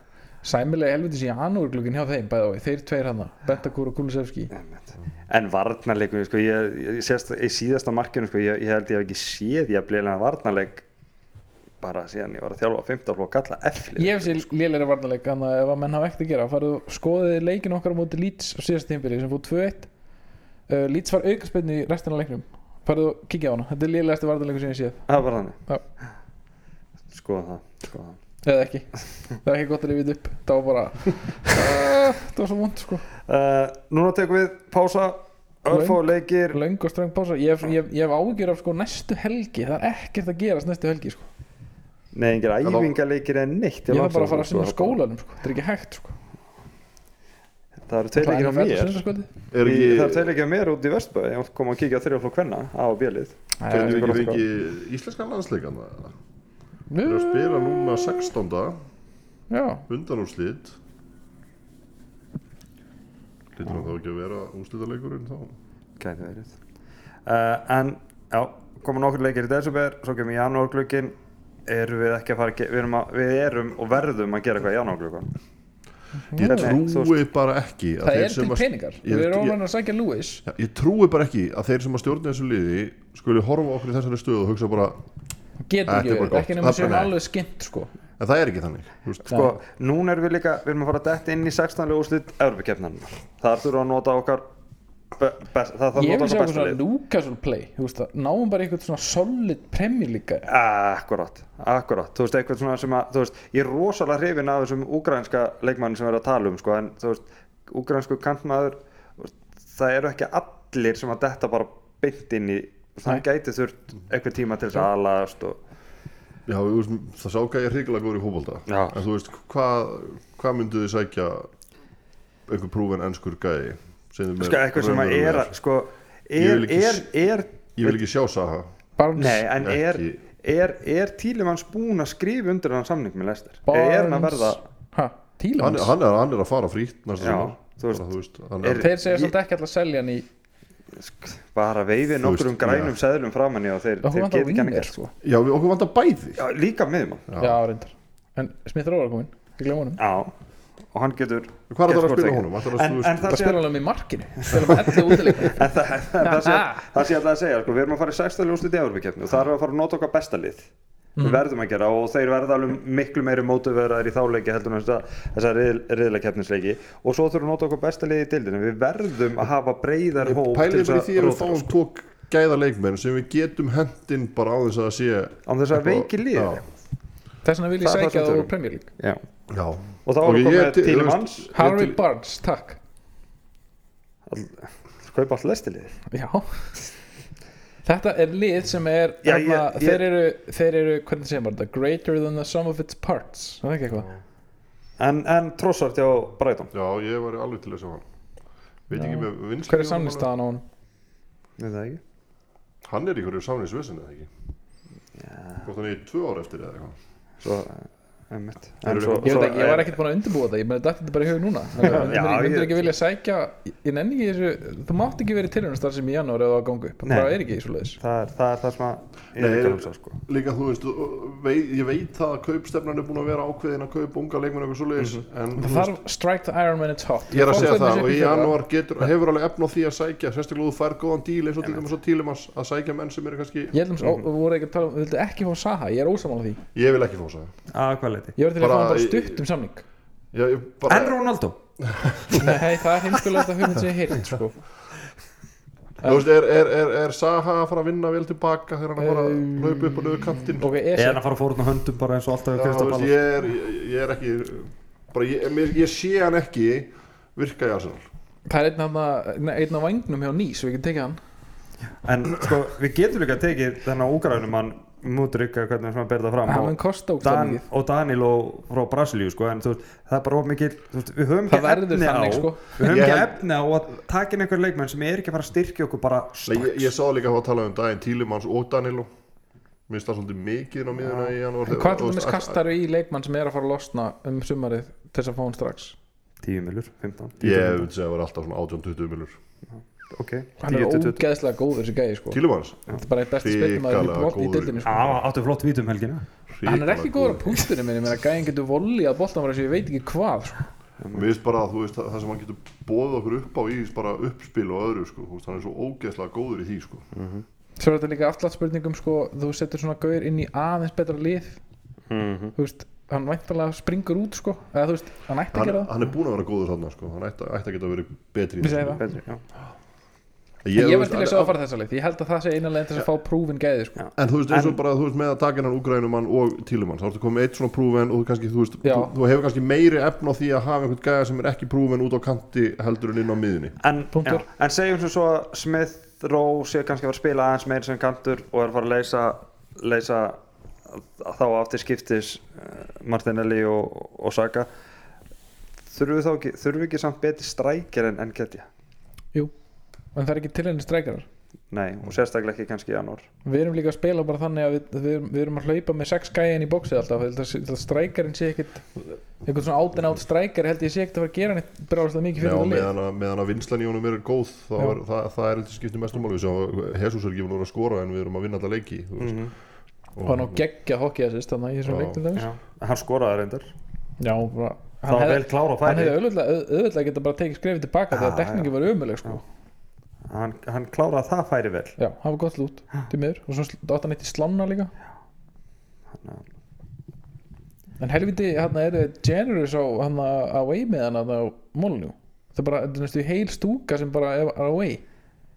Speaker 2: Sæmilega helvitis í janúrglugin hjá þeim bæði og þeir tveir hana Bentakur og Kulusevski
Speaker 1: einmitt. en varnarleikum sko, ég, ég, sést, í síðasta markinu sko, ég, ég held ég hef ekki séð ég að bliðlega varnarleik bara síðan ég var að þjálfa á 15 flokk alla eflir
Speaker 2: Ég hef sér lélæri varnarleik þannig að ef að menn hafa ekkert að gera farið og skoðið leikin okkar á móti Leeds á síðast tímpili sem fór 2-1 uh, Leeds var aukarspenni í restina af leiknum farið og kikið á hana, þetta er lélægasti varnarleikur sem ég séð
Speaker 1: það var þannig
Speaker 2: Já.
Speaker 1: skoða það, skoða
Speaker 2: eða ekki, það er ekki gott að rifið upp það var bara, það var svo vond sko
Speaker 1: það uh, núna tekum við pása örfá leikir
Speaker 2: löng og ströng pása, ég hef, ég hef, ég hef ágjör af sko næstu helgi, það er ekkert að gerast næstu helgi sko,
Speaker 1: Nei, engir
Speaker 3: Það var-
Speaker 1: æfingaleikir en neitt
Speaker 2: ég þarf bara að fara að
Speaker 1: Landsdómsins,
Speaker 2: sinna skólanum sko, það er ekki hægt sko
Speaker 1: Það eru tveir leikir á
Speaker 2: Það er
Speaker 1: mér
Speaker 2: sunnudagskvöldið.
Speaker 3: er
Speaker 1: Í- Það eru
Speaker 3: ekki
Speaker 1: tveir leikir á mér út í Vestbæ Ég kom að kíkja á þrjá flokk hvenna á bjölið
Speaker 3: Getum
Speaker 1: Gott,
Speaker 3: við ekki
Speaker 1: gott.
Speaker 3: fengið íslenskan landsleikan það?
Speaker 2: Nú,
Speaker 3: Við erum að spila núna 16.
Speaker 2: Já,
Speaker 3: undanúrslit Lítur hann þá ekki að vera úrslitaleikurinn þá?
Speaker 1: Gæti verið uh, En, já, koma nokkur leikir í desember Svo kemur janúarglögin Erum við ekki að fara að ge- við erum, að, við erum og verðum að gera eitthvað í janúarglögan
Speaker 3: Ég
Speaker 1: Nei, þú
Speaker 3: trúi bara ekki að
Speaker 2: það
Speaker 3: þeir
Speaker 2: er
Speaker 3: sem
Speaker 2: til
Speaker 3: að-
Speaker 2: peningar
Speaker 3: Ég-
Speaker 2: Við erum
Speaker 3: ég-
Speaker 2: ofan að sækja Lewis
Speaker 3: Já, Ég trúi bara ekki að þeir sem að stjórna þessu liði skuli horfa á okkur í þessari stöðu og hugsa bara
Speaker 2: getur
Speaker 3: Þetta er
Speaker 2: ekki
Speaker 3: bara
Speaker 2: verið,
Speaker 3: gott.
Speaker 2: ekki nema
Speaker 3: Það er
Speaker 2: séum
Speaker 3: bara-
Speaker 2: alveg skimmt sko
Speaker 3: en það er ekki þannig þú veist.
Speaker 1: Sko, núna erum við líka, við erum að fara að detta inn í 16. úrslit Evropakefnan Þar þurfum við að nota okkar be, best, Það þarf að nota
Speaker 2: ég vil sjá
Speaker 1: okkar
Speaker 2: okkur
Speaker 1: besta
Speaker 2: svona
Speaker 1: lið
Speaker 2: Newcastle play þú veist það, náum bara eitthvað svona solid Premier League
Speaker 1: Akkurat, akkurat, þú veist, eitthvað svona sem að, þú veist, ég er rosalega hrifin af þessum úgrænska leikmanni sem við erum að tala um, sko, en þú veist, úgrænsku kantmaður, þú veist, það eru ekki allir sem að detta bara beint inn í, það
Speaker 2: Nei.
Speaker 1: gæti þurft eitthvað tíma til þess að alast og,
Speaker 3: Já, þú veist, það sá gæði hrigalega góður í fótbolta
Speaker 1: Já.
Speaker 3: en þú veist, hvað hva myndu þið sækja einhver prúfin ennskur gæði sem þið með
Speaker 1: sko, eitthvað sem að
Speaker 3: raunverulegar?
Speaker 1: er, að- sko,
Speaker 3: Ég
Speaker 1: er,
Speaker 3: vil ekki
Speaker 1: er,
Speaker 3: s-
Speaker 1: er,
Speaker 3: Ég vil ekki sjá Saha
Speaker 2: Barnes,
Speaker 1: nei, en er,
Speaker 3: Ekki-
Speaker 1: er, er Tílimanns búin að skrifa undir hann samning með Lester?
Speaker 2: Barnes
Speaker 1: Er hann að verða,
Speaker 2: ha,
Speaker 3: hann,
Speaker 2: Tílemans
Speaker 3: hann, er, hann er að fara frítt næsta
Speaker 1: Já,
Speaker 3: sumar.
Speaker 1: þú veist,
Speaker 3: Bara, þú veist hann
Speaker 1: er-
Speaker 3: er,
Speaker 2: þeir segja
Speaker 1: ég-
Speaker 2: svolítið ekki alltaf að selja hann í
Speaker 1: bara veifi
Speaker 3: Þú veist,
Speaker 1: nokkrum grænum seðlum framann í og þeir,
Speaker 2: það hún
Speaker 1: þeir
Speaker 2: vantar
Speaker 1: geta ekki hann
Speaker 2: vingar
Speaker 1: ekkert,
Speaker 2: sko
Speaker 3: Já, við okkur vantar bæði
Speaker 1: Já, líka miðjumann
Speaker 3: Já.
Speaker 2: já, reyndar en Smith Rowe er komin ég glemur honum
Speaker 1: Já, og hann getur
Speaker 3: Hvað er það að
Speaker 1: getur
Speaker 3: spila
Speaker 1: skotað
Speaker 3: honum? Ætlar
Speaker 1: ekki.
Speaker 3: að-
Speaker 1: En, en
Speaker 3: þú
Speaker 1: það
Speaker 3: veist-
Speaker 2: bara
Speaker 1: sé
Speaker 2: spila hann um í markinu spila hann allir útileik
Speaker 1: en það- en það sé það sé alltaf að segja sko, við erum að fara í sextali úrslit í Európa-keppni og það er að fara að nota okkar besta lið við verðum að gera og þeir verða alveg miklu meiri mótuverðar í þáleiki heldur en þessar riðlakeppnisleiki og svo þurfum við að nota okkar besta lið í dildinu við verðum að hafa breyðar hóp til
Speaker 3: Pælið bara í
Speaker 1: þess sko.
Speaker 3: því að við
Speaker 1: róta.
Speaker 3: fáum tók gæða leikmenn sem við getum hendinn bara á þess að það sé
Speaker 1: Án þess að veiki liðið.
Speaker 3: Já,
Speaker 2: þess vegna vil ég
Speaker 1: Það er það
Speaker 2: sækja
Speaker 1: sem
Speaker 2: það úr
Speaker 1: þurfum.
Speaker 2: Premier League
Speaker 1: Já.
Speaker 3: já
Speaker 1: og þá erum
Speaker 3: Ok,
Speaker 1: við
Speaker 3: ég
Speaker 1: komið
Speaker 3: til-
Speaker 1: til
Speaker 3: þú veist-
Speaker 1: manns
Speaker 2: Harvey
Speaker 3: til-
Speaker 2: Barnes, takk
Speaker 1: kaupa allt lestilið
Speaker 2: já Þetta er lið sem er
Speaker 1: Já, ég-
Speaker 2: hérna,
Speaker 1: ég-
Speaker 2: þeir, eru, þeir eru, hvernig segir maður þetta greater than the sum of its parts Er það er ekki eitthvað
Speaker 1: en, en trossart hjá Breiton
Speaker 3: Já, ég var alveg til þess að hann veit ekki með vinnslu
Speaker 2: hver er samnýstaðan á hann
Speaker 1: Veit það ekki?
Speaker 3: hann er í hverju samningsvesin eða ekki hvort hann er í tvö ár eftir eða eitthvað
Speaker 1: Svo, eh, einmitt
Speaker 3: Það
Speaker 1: En
Speaker 3: eru
Speaker 1: svo-
Speaker 3: við-
Speaker 2: ég
Speaker 1: svo-
Speaker 2: veit ekki, ég var ekkert búin að undirbúa þetta ég meni dætti þetta bara í hug núna Þannig að
Speaker 1: Já,
Speaker 2: myndir ekki, myndir
Speaker 1: ég-
Speaker 2: ekki vilja sækja ég nenni ekki þessu, þú mátt ekki verið tilhjörnastar sem í janúar eða á gangu, það
Speaker 1: Nei.
Speaker 2: bara er ekki í svo
Speaker 1: Það er það, er það sem að ég er
Speaker 3: Nei,
Speaker 1: ekki að hugsa sko
Speaker 3: líka þú veist, og vei- ég veit það að kaupstefnan er búin að vera ákveðin að kaupa unga leikmenn eitthvað svoleiðis, en þú
Speaker 2: Mhm. það
Speaker 3: veist,
Speaker 2: þarf strike the iron when it's hot
Speaker 3: ég er að segja
Speaker 2: Fór
Speaker 3: það
Speaker 2: Stefánsson
Speaker 3: og í
Speaker 2: upp fyrra.
Speaker 3: janúar getur, hefur alveg efn á því að sækja sérstaklega þú fær góðan díl eins og til dæmis á tílimas að sækja menn sem eru kannski,
Speaker 2: ég heldum, mm -hmm. voru ekki að tala um, við vildum ekki fá Saha ég er ósamála því,
Speaker 3: ég vil ekki fósa
Speaker 1: Að hvað leiti?
Speaker 2: ég var til að fá
Speaker 3: Bara
Speaker 2: hann bara
Speaker 3: í-
Speaker 2: stutt um samning
Speaker 3: ég, ég bara,
Speaker 1: En Ronaldo?
Speaker 2: nei, það er heimskulega þetta hugmynd sem ég heilt sko.
Speaker 3: þú veist, er, er, er, er Saha að fara að vinna vel tilbaka þegar hann er að fara
Speaker 2: Um,
Speaker 3: að laupa upp og niður kantinn
Speaker 2: ok,
Speaker 1: Ég er
Speaker 2: Ese
Speaker 1: að fara að fórna höndum bara eins og alltaf við
Speaker 3: Já, þú veist,
Speaker 1: Kristaballar
Speaker 3: ég er, ég, ég er ekki bara, ég, mér- ég sé hann ekki virka í Arsenal
Speaker 2: það er einn af, einn af vangnum hjá Nýs, við getum tekið hann
Speaker 1: En sko, við getum líka tekið þennan úgrænum hann Mútrykka, hvernig sem hann ber það fram
Speaker 2: hann
Speaker 1: og-
Speaker 2: mun kosta ógst
Speaker 1: Dan,
Speaker 2: mikið
Speaker 1: og Danilo frá Brasilíu sko, en þú veist, það er bara of mikil þú veist, við höfum
Speaker 2: Það
Speaker 1: ekki
Speaker 2: verður
Speaker 1: efni á
Speaker 2: þannig, sko.
Speaker 1: við höfum
Speaker 3: Ég
Speaker 1: ekki
Speaker 3: held-
Speaker 1: efni á að taka inn einhver leikmenn sem er ekki að fara að styrkja okkur bara
Speaker 3: Nei,
Speaker 1: strax
Speaker 3: ég, ég sá líka hvað að tala um daginn Tílimanns og Danilo Mér finnst það svolítið mikið inn á miðuna í janúar
Speaker 2: hvað er þetta með kastaru í leikmann sem er að fara að losna um sumarið til þess að fá hann strax
Speaker 1: 10 milur, 15 10
Speaker 3: Ég
Speaker 1: milur.
Speaker 3: vil segja að vera alltaf svona 18-20 milur
Speaker 1: ok, 10
Speaker 2: hann er
Speaker 1: til 20
Speaker 2: ógeðslega góður þessi gæði sko.
Speaker 3: Tílimanns
Speaker 2: þetta er bara eitt besti spilnumaður í,
Speaker 3: Hrikalega
Speaker 2: bol- í
Speaker 3: góður.
Speaker 2: dildinni sko.
Speaker 1: Á, áttu flott vítum helgina
Speaker 2: hann er ekki góður á punktunum minni menn að gæðin getur volið að boltan var eins og ég veit ekki hvað sko.
Speaker 3: Mér finnst bara að þú veist að það sem hann getur bóðið okkur upp á í bara uppspil og öðru sko, þú veist, hann er svo ógeðslega góður í því sko.
Speaker 2: Svo er þetta líka aftlagt spurningum sko, þú setur svona gaur inn í aðeins betra lið
Speaker 3: Mhm.
Speaker 2: þú veist, hann væntalega springur út sko, eða þú veist, hann ætti að
Speaker 3: hann,
Speaker 2: gera það
Speaker 3: hann er búin að vera góður þarna sko. hann ætti, ætti að geta verið betri
Speaker 2: Ég
Speaker 3: í þessu.
Speaker 2: segi það.
Speaker 1: Betri, já.
Speaker 2: Ég,
Speaker 3: þú
Speaker 2: ég var
Speaker 3: veist,
Speaker 2: til
Speaker 3: en-
Speaker 2: að sjá að fara þessa leið, ég held að það sé eina leiðin til þess að fá prúfin gæði sko.
Speaker 3: En þú veist eins og
Speaker 1: En-
Speaker 3: bara þú veist með að taka hennan úgrænumann og tílumann þá ertu komið með eitt svona prúven og þú kannski þú veist
Speaker 2: Já.
Speaker 3: þú, þú hefur kannski meiri efn á því að hafa einhvern gæða sem er ekki prúven út á kanti heldur en inn á miðunni
Speaker 1: en,
Speaker 2: Punktur.
Speaker 1: já, en segjum sem svo að Smith Rowe sé kannski að fara að spila aðeins meir sem kantur og er að fara að leysa, leysa þá aftur skiptis eh, Martinelli og, og Saga þurfum við þá ekki þurfum við ekki samt betri strækjar en, en getja
Speaker 2: Jú, en það er ekki til henni streikarar
Speaker 1: nei, og sérstaklega ekki kannski í janúar
Speaker 2: Við erum líka að spila bara þannig að við, við, erum, við erum að hlaupa með sex gæðin í bóksið alltaf ég held að- ég held að streikarinn sé ekkit einhvern svona out and out streikar held ég sé ekkit að fara að gera neitt bráðast mikið
Speaker 3: Já,
Speaker 2: fyrir það lið
Speaker 3: meðan að, meðan að vinslan í honum er góð þá
Speaker 2: Já.
Speaker 3: er, það, það er eitthvað skiptið mestum máli Hesús er ekki búin að vera að skora en við erum að vinna alla leiki þú veist.
Speaker 1: Mhm.
Speaker 2: og hann á geggja hokki að sérst þannig að ég sem
Speaker 3: Já.
Speaker 2: leiknum þess
Speaker 1: já, hann skoraði reyndar
Speaker 2: Já, bara,
Speaker 1: það
Speaker 2: Mm-hmm. hann
Speaker 1: var
Speaker 2: hefði
Speaker 1: vel klára á
Speaker 2: hann
Speaker 1: færi
Speaker 2: hefði auðvitað, auðvitað geta bara tekið skrefið tilbaka
Speaker 1: Já,
Speaker 2: þegar dekningi var ömuleg sko.
Speaker 1: hann, hann kláraði það færi vel
Speaker 2: já, hann var gott lút til miður og svo sl- átti hann eitt í slána líka en helviti hann er generous á hann away með hann á mólunjú það er bara, þetta er næstu heil stúka sem bara er er away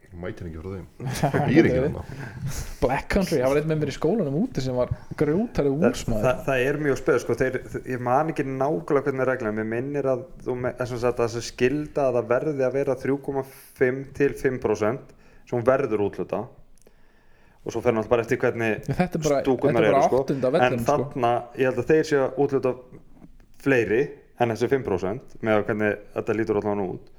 Speaker 3: Ég mæti henni ekki frá þeim Það býr ekki hann
Speaker 2: Black Country, það var einn með mér í skólanum úti sem var grjótari
Speaker 1: það,
Speaker 2: úrsmæður
Speaker 1: það, það er mjög spöð sko, þeir, þ- ég man ekki nákvæmlega hvernig regla mér minnir að þú me- að sem sagt, að þessi skilda að það verði að vera 3,5 til 5% sem hún verður útluta og svo fer náttúrulega bara eftir hvernig
Speaker 2: þetta er bara, þetta
Speaker 1: stúkunar
Speaker 2: er
Speaker 1: eru
Speaker 2: bara
Speaker 1: sko.
Speaker 2: áttunda
Speaker 1: en
Speaker 2: vellum sko.
Speaker 1: þarna, ég held að þeir séu að útluta fleiri en þessi 5% með að hvernig þetta lítur allan út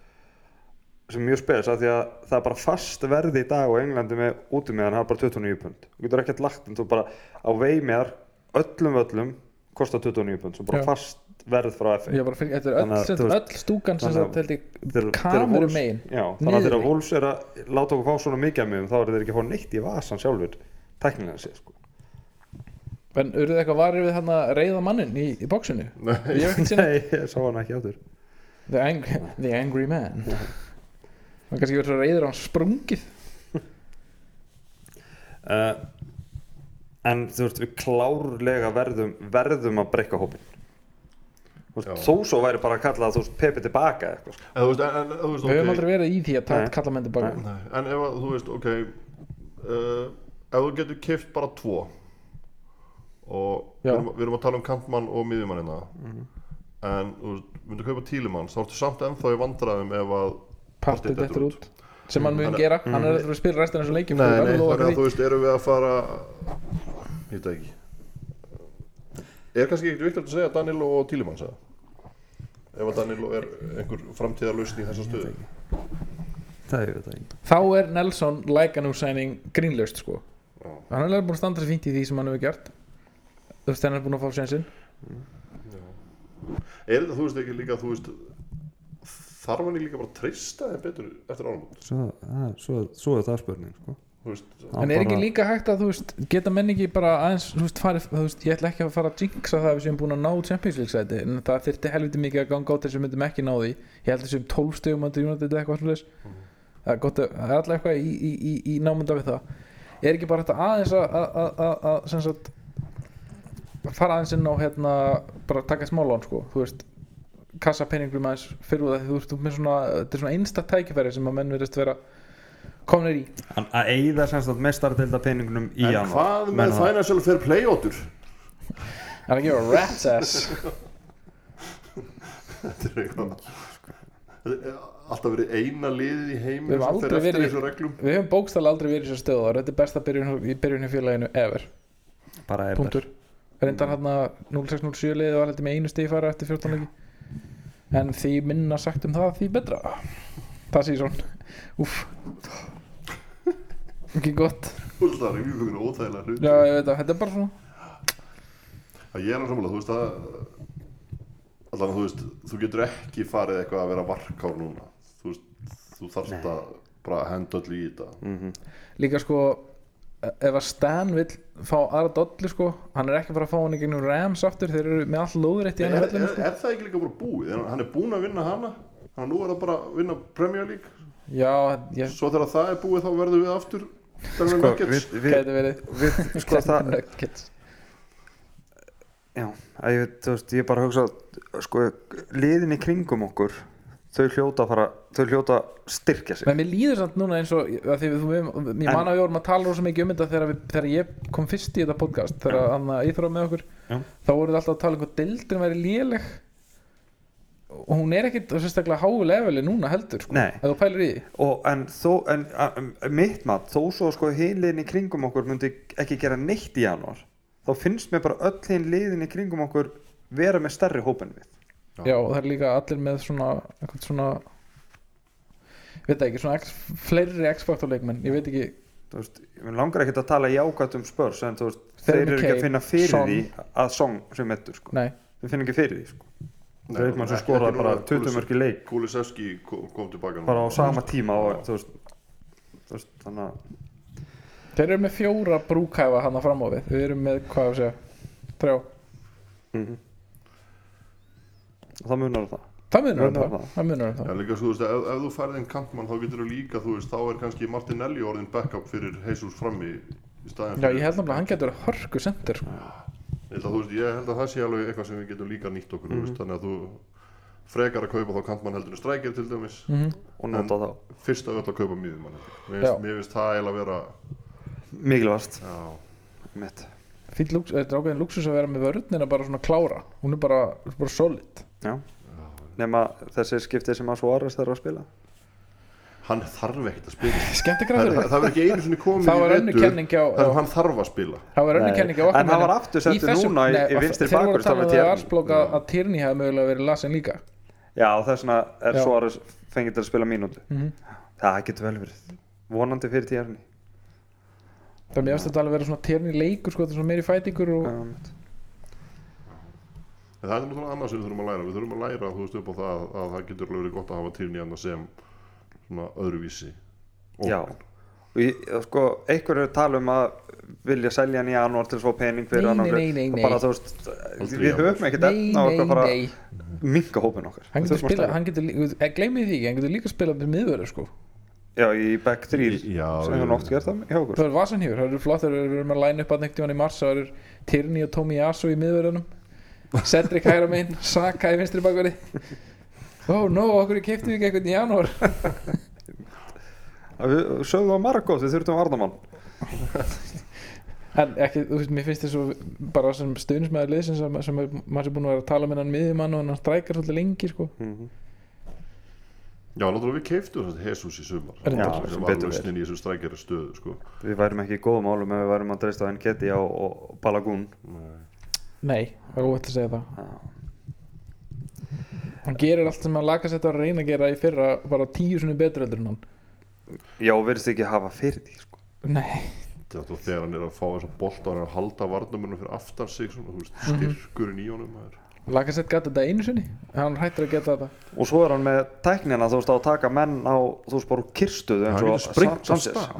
Speaker 1: sem er mjög spes af því að það er bara fast verði í dag á Englandi með útumiðan það er bara 29 pund þú getur ekkert lagt en þú bara á veimiðar öllum völlum kostar 29 pund sem bara
Speaker 2: Já.
Speaker 1: fast verð frá FA
Speaker 2: Ég bara fyrir, þetta er
Speaker 1: Þannig að,
Speaker 2: öll,
Speaker 1: þú
Speaker 2: sem,
Speaker 1: veist,
Speaker 2: öll stúkan sem
Speaker 1: þannig að
Speaker 2: þetta held
Speaker 1: Þeir-
Speaker 2: ég
Speaker 1: þeir
Speaker 2: kameru
Speaker 1: Wolves-
Speaker 2: megin
Speaker 1: já, þannig að
Speaker 2: niður
Speaker 1: þegar
Speaker 2: í.
Speaker 1: Wolves er að láta okkur fá svona mikið að miðum þá eru þeir ekki að fá neitt í vasan sjálfur tæknilega sér sko
Speaker 2: En eruð þið eitthvað varir við hann að reyða mannin í, í bóksinu?
Speaker 3: Nei.
Speaker 2: Ég hef ekki sinni
Speaker 1: nei, ég sá hann ekki áttur
Speaker 2: The Angry, the angry Man Það kannski verður svo reyður á hann sprungið
Speaker 1: uh, en þú veist við klárlega verðum verðum að breyka hópin Þú veist,
Speaker 3: Já.
Speaker 1: þó svo væri bara að kalla þú veist Pepe tilbaka eða eitthvað sko.
Speaker 3: En þú veist, en, en, þú veist,
Speaker 2: Við höfum
Speaker 3: ok.
Speaker 2: aldrei verið í því að
Speaker 1: Nei.
Speaker 2: taka kalla menn tilbaka
Speaker 3: Nei, en ef að, þú veist, ok uh, ef þú getur keift bara tvo og við
Speaker 2: Já.
Speaker 3: erum, við erum að tala um kantmann og miðjumann hérna en þú veist, myndu kaupa tílimann þá ertu samt ennþá í vandræðum ef að
Speaker 2: Partið
Speaker 3: Partey
Speaker 2: þetta út sem hann mun
Speaker 3: Þannig-
Speaker 2: gera, hann er eftir að spila restina þessu leikjum
Speaker 3: Mm. nei,
Speaker 2: við
Speaker 3: nei,
Speaker 2: verðum að
Speaker 3: þannig
Speaker 2: lofa
Speaker 3: að
Speaker 2: því.
Speaker 3: þú veist, erum við að fara ég veit það ekki er kannski ekkert viktilegt að segja Danilo og tílimann segja ef að Danilo er einhver framtíðarlausn í þessa stöðu
Speaker 1: það er þetta ekki
Speaker 2: þá er Nelson Lækan úr sæning grínlaust sko hann er alveg búin að standa sér fínt í því sem hann hefur gert þú veist hann er búin að fá sénsinn
Speaker 3: Er þetta, þú veist ekki líka, þú veist Þarf hann ekki líka bara að treysta þeim betur eftir áramót
Speaker 1: svo, að, svo, svo er það spurning sko.
Speaker 3: Þú veist,
Speaker 1: Hann
Speaker 2: en er ekki
Speaker 1: bara-
Speaker 2: líka hægt að þú veist geta menn ekki bara aðeins þú veist, farið, þú veist ég ætla ekki að fara að jinxa það að við séum búin að ná Champions League sæti en það þyrfti helviti mikið að ganga át þess að við myndum ekki ná því ég held þessum 12 stegum að United eða eitthvað svolítið það er gott að það er alltaf eitthvað í, í, í, í námynda við það er ekki bara þetta aðeins að- að- að- að að sem sagt fara aðeins inn á hérna bara taka smálán sko þú veist kassa peningum aðeins fyrir það þú veist þú ert með svona þetta er svona einsta tækifæri sem að menn verðist vera komnir í
Speaker 1: Hann- að eigða semst að mestardelda peningunum í
Speaker 3: en
Speaker 1: janúar.
Speaker 3: hvað
Speaker 1: Menn
Speaker 3: með
Speaker 1: það-
Speaker 3: financial fair play otur?
Speaker 2: I don't give a rat's ass
Speaker 3: Þetta er eitthvað Þetta er alltaf verið eina liðið í
Speaker 2: Við
Speaker 3: heiminu
Speaker 2: höfum
Speaker 3: sem fer
Speaker 2: aldrei
Speaker 3: eftir
Speaker 2: verið-
Speaker 3: þessu reglum
Speaker 2: Við höfum bókstall aldrei verið í þessu stöðu áður. Þetta er besta byrjun í byrjun í félaginu ever
Speaker 1: bara er
Speaker 2: Puntur Reyndar hann að 0607 liðið var heldur með einu stíð fara eftir 14 leiki En því minna sagt um það því betra Það sé svona Úff Ekki gott
Speaker 3: Þú veist, Það er mjög fyrir óþægilega hlut
Speaker 2: Já, ég veit að þetta er bara svona
Speaker 3: Ég er alveg sammála, þú veist að Allan, þú veist, þú getur ekki farið eitthvað að vera varkár núna Þú veist, þú þarft að bara henda öll í þetta
Speaker 2: Líka sko Ef að Stan vill fá aðra dollu sko Hann er ekki bara að fá hann í gegnum Rams aftur Þeir eru með allt lóðrétt í
Speaker 3: er,
Speaker 2: hennar
Speaker 3: er,
Speaker 2: vellum
Speaker 3: er,
Speaker 2: sko
Speaker 3: það ekki líka bara búið? Hann- Hann er búinn að vinna hana Þannig að nú er það bara að vinna Premier League
Speaker 2: Já, ég
Speaker 3: Svo þegar það er búið þá verðum við aftur Denver
Speaker 1: sko,
Speaker 3: Nuggets
Speaker 1: við, við,
Speaker 2: gæti verið
Speaker 1: við, sko það
Speaker 2: Nuggets
Speaker 1: já, að ég, veit, þú veist, ég bara hugsa sko, liðin í kringum okkur þau hljóta að fara þau hljóta að styrkja sig
Speaker 2: Men mér líður samt núna eins og að því við, við, ég
Speaker 1: En-
Speaker 2: man að við vorum að tala rosa mikið um þetta þegar, við, þegar ég kom fyrst í þetta podcast þegar Anna Íþrá með okkur
Speaker 1: Já.
Speaker 2: þá voru þetta alltaf að tala um hvað deildin væri léleg og hún er ekkit sérstaklega háu leveli núna heldur sko,
Speaker 1: Nei.
Speaker 2: ef þú pælir í því
Speaker 1: og en þó en, a, um, mitt mat, þó svo sko hin liðin í kringum okkur myndi ekki gera neitt í janúar þá finnst mér bara öll hin liðin í kringum okkur vera með stærri hóp en við
Speaker 3: Já.
Speaker 2: Já, og það er líka allir með svona eitthvað svona ég veit það ekki, svona X, fleiri X-Factor leikmenn, ég veit ekki
Speaker 1: þú veist, ég langar ekkert að tala jákvæmt um spörs en þú veist,
Speaker 2: Þeir
Speaker 1: þeir
Speaker 2: eru
Speaker 1: eru
Speaker 2: með
Speaker 1: ekki að
Speaker 2: Kane,
Speaker 1: finna fyrir
Speaker 2: Son.
Speaker 1: því að song sem ettur sko,
Speaker 2: nei,
Speaker 1: þeir finna ekki fyrir því sko
Speaker 3: Nei,
Speaker 1: þeir eru mann sem
Speaker 3: ekki-
Speaker 1: skoraði
Speaker 3: ekki
Speaker 1: bara
Speaker 3: núna.
Speaker 1: 20 mörg í leik
Speaker 3: Kulisevski kom, kom tilbaka núna.
Speaker 1: bara á sama tíma og þú veist, þú veist þannig að
Speaker 2: þeir eru með fjóra brúkæfa hann að fram á við, við erum með hvað á að segja, þrjá
Speaker 1: það munar það
Speaker 2: það munar um
Speaker 1: Munar
Speaker 2: það,
Speaker 1: það.
Speaker 2: það munar um það
Speaker 3: En líka svo, þú veist, ef, ef þú færið einn kantmann þá getur þú líka, þú veist, þá er kannski Martinelli orðin backup fyrir Jesus frammi í staðin
Speaker 2: Já, ég held náttúrulega að hann getur verið hörku sendur sko.
Speaker 3: Ég held að, þú veist, ég held að það sé alveg eitthvað sem við getum líka nýtt okkur,
Speaker 2: Mhm.
Speaker 3: þú veist, þannig að þú frekar að kaupa þá kantmann heldur en strækir til dæmis,
Speaker 1: og nota þá,
Speaker 3: fyrst af öll að kaupa miðjumann. Mér,
Speaker 2: Mhm. Já.
Speaker 3: finnst- mér finnst það eiginlega vera,
Speaker 1: mikilvægast
Speaker 3: já,
Speaker 1: mitt,
Speaker 2: Fýll lúks, þetta er ákveðin luxus að vera með vörnina bara svona klára Hún er bara, bara solid
Speaker 1: já nema þessi skipti sem að svo aðrast þarf að spila
Speaker 3: hann þarf ekkert að spila. það,
Speaker 2: Skemmtikræður
Speaker 3: það, það verður ekki einu sinni komið
Speaker 2: Það var
Speaker 3: í
Speaker 2: önnur
Speaker 3: vetur
Speaker 2: kenning hjá- já.
Speaker 3: þar sem hann þarf að spila.
Speaker 2: Það var
Speaker 1: Nei,
Speaker 2: önnur kenningi okkar
Speaker 1: en hann
Speaker 2: mönnum.
Speaker 1: var aftur settur
Speaker 2: þessu-
Speaker 1: núna í-
Speaker 2: nei,
Speaker 1: í vinstri
Speaker 2: Þeir voru
Speaker 1: bakvörð,
Speaker 2: að
Speaker 1: það
Speaker 2: tala
Speaker 1: var
Speaker 2: um það
Speaker 1: Tierney.
Speaker 2: arsblóka að Tierney hefði mögulega verið lasin líka
Speaker 1: já og þess vegna er
Speaker 2: Já.
Speaker 1: svo aðrast fengið til að spila mínútu
Speaker 2: Mhm.
Speaker 1: það getur vel verið, vonandi fyrir tíjarni
Speaker 2: Það mér finnst þetta alveg að vera svona Tierney leikur sko, þetta er svona meiri fætingur og...
Speaker 1: um,
Speaker 3: En það er náttúrulega annað sem við þurfum að læra. Við þurfum að læra, þú veist, upp á það að, að það getur alveg verið gott að hafa týrni annað sem svona öðruvísi. Og,
Speaker 1: Já, og ég, sko, einhverju tala um að vilja selja hann í janúar til að fá pening fyrir
Speaker 2: Nei,
Speaker 1: hann og
Speaker 2: nei,
Speaker 1: fleiri.
Speaker 2: nei, nei,
Speaker 1: Og bara
Speaker 2: nei.
Speaker 1: þú veist,
Speaker 3: Aldrei
Speaker 1: við
Speaker 3: janúar.
Speaker 1: höfum ekkert
Speaker 2: Nei,
Speaker 1: efni á
Speaker 2: nei,
Speaker 1: okkur bara
Speaker 2: nei
Speaker 1: minga hópin okkar
Speaker 2: Hann
Speaker 1: Við
Speaker 2: getur
Speaker 1: þurfum að
Speaker 2: spila,
Speaker 1: stækka.
Speaker 2: hann getur, eh, gleymið því ekki, hann getur líka spilað með miðvörður sko
Speaker 1: Já, í back 3 sem
Speaker 3: Já,
Speaker 1: við
Speaker 3: já.
Speaker 1: hann oft gert það hjá okkur
Speaker 2: Það er vasanhýfur, það eru flott þegar við erum að læna upp að nekti hann í mars það eru Tierney og Tommy Yasu í miðverðunum Cedric hægra megin, Saka í vinstri bakverði Ó, oh, no, okkur keftum við ekki eitthvað í janúar
Speaker 1: Að Við sögðum á Margot, við þurftum varnamann
Speaker 2: En ekki, þú veist, mér finnst þér svo bara sem stuðnismæður liðsins sem, sem er- maður er búin að vera að tala með hann miðjumann og hann strækar svolítið lengi, sko
Speaker 3: Já, náttúrulega við keiftum þess að Jesus í sumar
Speaker 1: Já,
Speaker 2: Reyndar.
Speaker 3: sem
Speaker 1: sem
Speaker 3: var
Speaker 1: betur fer.
Speaker 3: lausnin í þessu strækjara stöðu sko.
Speaker 1: Við værum ekki í góðum álum ef við værum að dreista á Enketia og, og Balagún
Speaker 2: Nei, það er óvægt að segja það Hann gerir allt sem hann lagast þetta að reyna að gera í fyrra bara tíu sinni betur heldur en hann
Speaker 1: já, verðist ekki hafa fyrir því sko.
Speaker 2: Nei,
Speaker 3: Já, þú, þegar hann er að fá þess að bolta hann er að halda varnamörnum fyrir aftan sig svona, þú veist,
Speaker 1: Mhm.
Speaker 3: styrkurinn í honum maður.
Speaker 2: Lakarsett gæti þetta einu sinni Hann hættur að geta þetta
Speaker 1: og svo er hann með tæknina þú veist á að taka menn á þú veist bara úr kyrstuðu
Speaker 3: hann
Speaker 1: eins
Speaker 3: getur
Speaker 1: og
Speaker 3: sprengt á
Speaker 1: Sanchez
Speaker 3: stað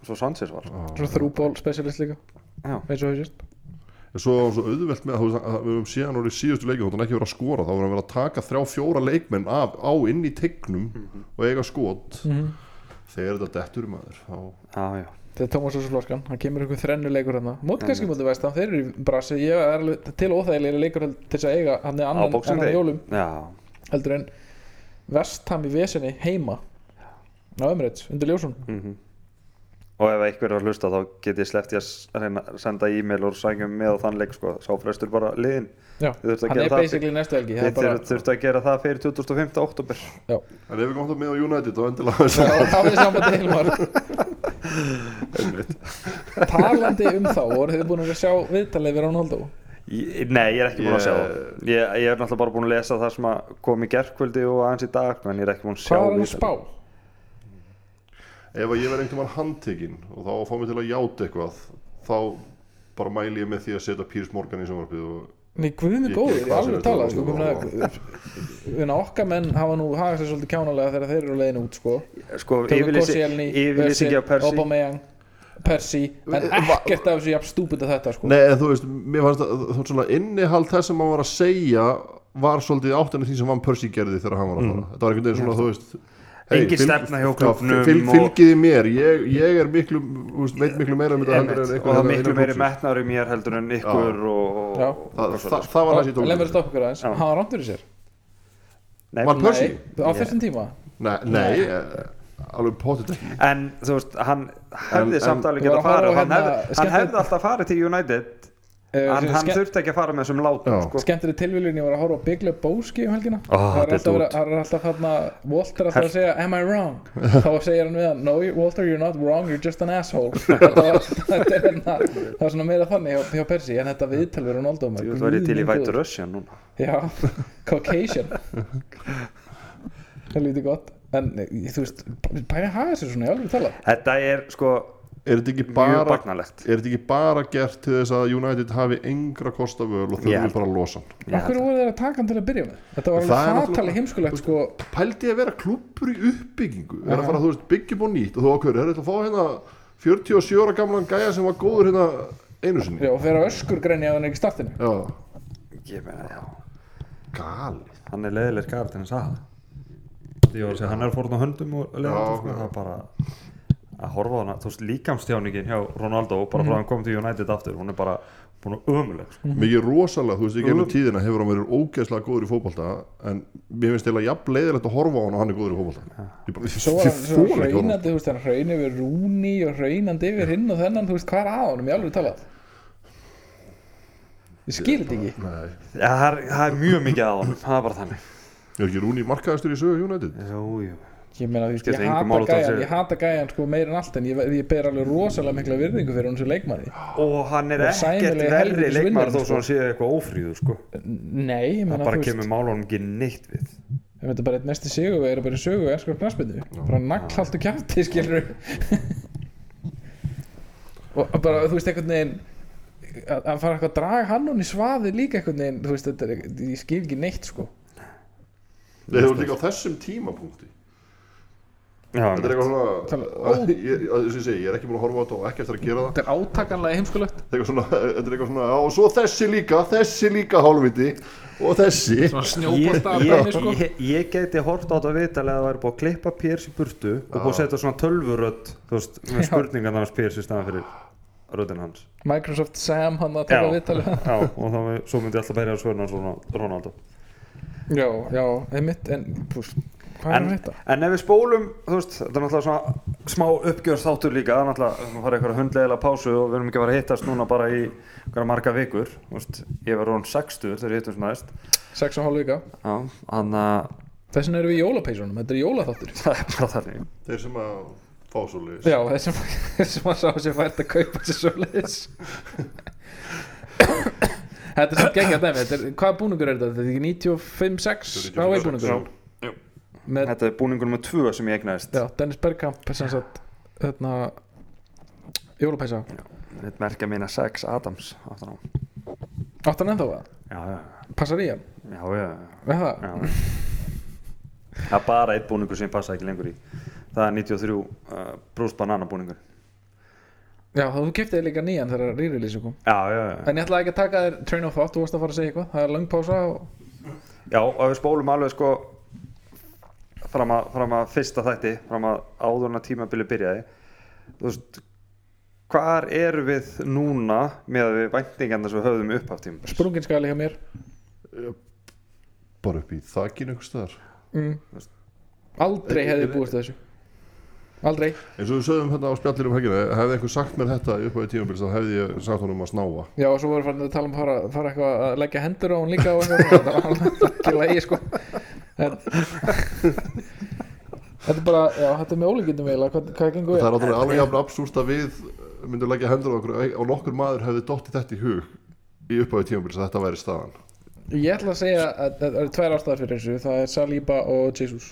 Speaker 1: eins og Sanchez var
Speaker 2: Svo þrúból specialist líka
Speaker 1: Já.
Speaker 2: Eins og hausist
Speaker 3: En Svo var hann svo auðvelt með að, þú veist, að við höfum síðan orðið í síðustu leikum þá hann ekki verið að skora þá var hann verið að taka þrjá fjóra leikmenn af, á inn í tegnum
Speaker 1: Mhm.
Speaker 3: og eiga skot þegar þetta dettur maður þá,
Speaker 1: já, já.
Speaker 2: Þetta er Tómas Þessu Flóskan Hann kemur ykkur þrennu leikur hérna Móti kannski móti veist Þeir eru í brasi Ég er alveg til óþægilegri leikur held- Til þess að eiga Hann er
Speaker 1: á
Speaker 2: annan,
Speaker 1: bóksum
Speaker 2: annan jólum
Speaker 1: já,
Speaker 2: Heldur en Vestham í vesinni heima Á Emirates Undir Ljósun
Speaker 1: Mm. og ef einhver er að hlusta þá get ég sleppt ég að s- að reyna að senda e-mail og sængjum með á þann leik sko, sá frestur bara liðin
Speaker 2: Já
Speaker 1: Þið þurftu að
Speaker 2: Hann
Speaker 1: gera
Speaker 2: er
Speaker 1: það
Speaker 2: basically næstu helgi Það
Speaker 1: þið
Speaker 2: er bara
Speaker 1: bara... þurftu að gera það fyrir 25. oktober
Speaker 2: Já
Speaker 3: en ef við komum það með á United þá endilega þess að
Speaker 2: Það er sambandi heilmar Talandi um þá voru þið búin að sjá viðtalið við Ronaldo
Speaker 1: ég, nei, ég er ekki búin að sjá það ég, ég er náttúrulega bara búin að lesa það sem að kom í gerkvöldi og aðeins í dag en ég er ekki búin að sjá
Speaker 2: Hvað var hann að
Speaker 1: viðtalið.
Speaker 2: spá?
Speaker 3: ef að ég verði einhvern veginn handtekinn og þá fá mig til að játa eitthvað þá bara mæli ég með því að setja Pírs Morgan í samvarpið og
Speaker 2: Nei, guðmi
Speaker 3: Ég-
Speaker 2: góður,
Speaker 3: ég-
Speaker 2: ég alveg
Speaker 3: hvað
Speaker 2: talað
Speaker 3: sem
Speaker 2: sko,
Speaker 3: þetta var.
Speaker 2: komna, Vinna okkar menn hafa nú hagað sér svolítið kjánalega þegar þeir eru leiðin út sko
Speaker 1: sko,
Speaker 2: Tökum
Speaker 1: yfirlýsi-
Speaker 2: Koscielny,
Speaker 1: yfirlýsingi á eh, Persi
Speaker 2: Aubameyang, Persi En ekkert af þessu jafn stúpid að þetta sko
Speaker 3: Nei, en þú veist, mér fannst að þú veist, svona innihald þess sem hann var að segja var svolítið áttan af því sem Van Persie gerði þegar hann var að fara. Þetta var einhvern veginn svona, þú veist,
Speaker 1: Engin stefna hjá klúbbnum
Speaker 3: Já, fylg,
Speaker 1: og-
Speaker 3: fylgiði mér, ég, ég er miklu, þú veist, veit miklu meira um þetta
Speaker 1: Einmitt,
Speaker 3: heldur en
Speaker 1: og
Speaker 3: einhvern
Speaker 1: það er miklu meiri metnar í mér heldur en ykkur og, og,
Speaker 2: Já.
Speaker 1: og
Speaker 3: Það,
Speaker 1: og-
Speaker 3: það, það var það sem ég
Speaker 2: Leif mér að
Speaker 3: tók.
Speaker 2: stoppa ykkur aðeins,
Speaker 1: Já.
Speaker 2: hann var rámt fyrir sér
Speaker 1: Nei,
Speaker 3: Van Persie?
Speaker 2: Nei, á fyrstum tíma
Speaker 3: Nei, nei, eh, alveg potið ekki.
Speaker 1: en þú veist, hann hefði
Speaker 3: En-
Speaker 1: samt
Speaker 3: en-
Speaker 1: alveg
Speaker 2: Ég
Speaker 1: geta
Speaker 2: var að horfa
Speaker 1: farið
Speaker 2: á
Speaker 1: hann, hefði,
Speaker 2: hérna
Speaker 1: hann
Speaker 2: skemmtilegt-
Speaker 1: hefði alltaf farið til United
Speaker 2: Eh,
Speaker 1: en hann
Speaker 2: ske-
Speaker 1: þurfti ekki að fara með þessum látum
Speaker 3: Já.
Speaker 1: sko.
Speaker 2: skemmtileg tilviljun ég var að horfa á Big Lebowski um helgina
Speaker 1: Ó,
Speaker 2: það er
Speaker 1: þetta er
Speaker 2: alltaf,
Speaker 1: dút.
Speaker 2: vera- það er alltaf þarna Walter alltaf að segja am I wrong þá segir hann við hann no you- Walter you're not wrong you're just an asshole þetta var, þetta er hérna það var svona meira þannig hjá, hjá Persi en þetta viðtal við Ronaldo maður,
Speaker 1: Jú, það var ég til í
Speaker 2: guð minn
Speaker 1: White
Speaker 2: góður.
Speaker 1: Russian núna
Speaker 2: já, Caucasian það lítið gott en eh, þú veist bæði haga sér svona ég alveg tala
Speaker 1: þetta er sko
Speaker 3: Er þetta ekki
Speaker 1: mjög
Speaker 3: bara...
Speaker 1: bagnalegt
Speaker 3: Er þetta ekki bara gert til þess að United hafi yngra kosta völ og
Speaker 1: Ég
Speaker 3: þurfi
Speaker 1: held-
Speaker 3: bara að losa hann?
Speaker 1: Já,
Speaker 2: af hverju voru þeir að taka hann til að byrja með þetta var
Speaker 3: Það er
Speaker 2: alveg
Speaker 3: náttúrulega-
Speaker 2: fatali heimskulegt sko
Speaker 3: pældi ég að vera klúppur í uppbyggingu er að fara þú veist byggja búin nýtt og þú ákveður, er þetta að fá hérna 47 ára gamlan gæja sem var góður hérna einu sinni
Speaker 2: já, og þeir eru öskur greinja að hann er ekki í startinu
Speaker 3: Já.
Speaker 1: ég meina, já
Speaker 3: galið
Speaker 1: hann er leðileg skart en það ég var að segja, hann er fórn á höndum og
Speaker 3: Já,
Speaker 1: leðileg sko,
Speaker 3: já.
Speaker 1: það er bara að horfa á hana, þú veist, líkamstjáningin hjá Ronaldo bara frá að hann kom til United aftur, hún er bara búin að ömuleg,
Speaker 2: Mhm.
Speaker 1: sko.
Speaker 3: mikið rosalega, þú veist, í gegnum tíðina hefur hann verið ógeðslega góður í fótbolta en mér finnst eiginlega jafn leiðilegt að horfa á hann og hann er góður í fótbolta ég bara,
Speaker 2: Svo var
Speaker 3: ég
Speaker 2: hann svo
Speaker 3: þóla ekki hann
Speaker 2: hraunandi, þú veist, hann hraun yfir Rúni og hraunandi yfir hinn og þennan, þú veist, hvað er að honum, ég alveg talað Ég skil þetta ekki
Speaker 3: Nei,
Speaker 1: ja, það, er, það er mjög mikið að honum, það er bara þannig
Speaker 3: er ekki Rúni markaðastur í sögu United?
Speaker 1: jú, jú.
Speaker 2: Ég meina, þú veist,
Speaker 1: Skiptir
Speaker 2: ég
Speaker 1: engu
Speaker 2: hata
Speaker 1: máli þótt
Speaker 2: gæjan,
Speaker 1: sé-
Speaker 2: ég hata gæjan sko meira en allt en ég, ég ber alveg rosalega mikla virðingu fyrir hún sem leikmanni
Speaker 1: og hann er
Speaker 2: Og
Speaker 1: ekkert
Speaker 2: sæmilega
Speaker 1: verri
Speaker 2: helvítis
Speaker 1: leikmar
Speaker 2: vinnarinn,
Speaker 1: þó
Speaker 2: sko.
Speaker 1: svo hann séu eitthvað ófríðu sko.
Speaker 2: Nei, ég
Speaker 1: það
Speaker 2: meina,
Speaker 1: bara
Speaker 2: þú veist,
Speaker 1: kemur málunum ekki neitt við
Speaker 2: ég meina, bara eitt mesti sigur er bara í sögu og enskar knarspindu bara naglhaltu kjátti, skilur og bara, þú veist, einhvern veginn að að fara eitthvað að draga hann hún í svaði líka einhvern veginn, þú veist, þetta er, ég skil ekki neitt, sko
Speaker 3: Nei, það var líka á þessum tímapunkti
Speaker 1: já,
Speaker 3: Þetta er eitthvað svona,
Speaker 2: Tala-
Speaker 3: að- ég, að- sem ég segi, ég er ekki búin að horfa á þetta og ekki eftir að gera það
Speaker 2: Þetta er átakanlega heimskulegt
Speaker 3: Þetta er eitthvað svona, þetta er eitthvað svona, já, og svo þessi líka, þessi líka hálfviti og þessi.
Speaker 1: ég,
Speaker 2: Snjóbolta af dæmi sko
Speaker 1: ég, ég, ég geti hort á þetta viðtalið að það væri búið að klippa Pérs í burtu og búið að setja svona tölvurödd þú veist, með spurningan hans Pérs í staðan fyrir röddin hans
Speaker 2: Microsoft Sam hann að taka viðtalið
Speaker 1: já, og þá svo myndi ég alltaf bæri að svörna svona Ronaldo
Speaker 2: Já, já, einmitt en pús, hvað er
Speaker 1: en,
Speaker 2: þetta?
Speaker 1: en ef við spólum, þú veist, þetta er náttúrulega svona smá uppgjörð þáttur líka, það er náttúrulega við fara eitthvað hundlegilega pásu og við erum ekki að fara að hittast núna bara í hverja marga vikur þú veist, ég verður hún 60 þegar við hittum svona næst
Speaker 2: Sex og hálf vika
Speaker 1: já, hann að
Speaker 2: Þess vegna erum við í jólapeisunum, þetta er jólaþáttur
Speaker 1: það er bara þannig
Speaker 3: Þeir sem að fá svo leiðis.
Speaker 2: Já, þessum sem að sá sér fært að kaupa sér svoleiðis Þetta er samt gengja dæmi þetta er, Hvaða búningur er þetta? Þetta er ekki 95-6
Speaker 3: Þetta er
Speaker 2: Hvað
Speaker 3: 95,
Speaker 2: er búningur?
Speaker 3: já.
Speaker 2: með
Speaker 1: Þetta er búningur nummer tvö sem ég eignaðist
Speaker 2: já, Dennis Bergkamp sem sagt hérna jólupæsa
Speaker 1: Þetta merkja mína sex Adams aftan á.
Speaker 2: átt hann ennþá það,
Speaker 1: Já, já,
Speaker 2: passar í hann
Speaker 1: já, já, já.
Speaker 2: með það,
Speaker 1: já. Það er bara eitt búningur sem ég passa ekki lengur í Það er 93 uh, Bruce Banana búningur
Speaker 2: já þá þú kiptið líka nýjan þegar rýrilýsum kom
Speaker 1: Já, já, já
Speaker 2: en ég ætlaði ekki að taka þér train of thought, þú varst að fara að segja eitthvað það er langpása og
Speaker 1: Já, og við spólum alveg sko fram að, fram að fyrsta þætti fram að áðurna tímabili byrjaði Þú veist Hvar erum við núna með að við væntingarnar sem við höfðum upp af tímabils?
Speaker 2: sprungin skali hjá mér
Speaker 3: bara upp í þakinu einhvers staðar
Speaker 2: mm. aldrei hefði ég búist við þessu aldrei
Speaker 3: eins og við sögum hérna á spjallir um helgina hefði einhver sagt mér þetta upp á tímabils þá hefði ég sagt honum að snáa
Speaker 2: já og svo voru farin að tala um að fara, fara eitthvað að leggja hendur á hún líka og eitthvað þetta var alveg ekki lægi sko en þetta er bara já, þetta er með ólíkindum eiginlega hvað, hvað gengur
Speaker 3: það
Speaker 2: við
Speaker 3: er náttúrulega alveg jafn absúrt að við myndum leggja hendur á okkur og nokkur maður hefði dottið þetta í hug í upphæðu tímabils að þetta væri staðan
Speaker 2: ég ætla að segja að að það eru tvær ástæðar fyrir þessu það er Saliba og Jesus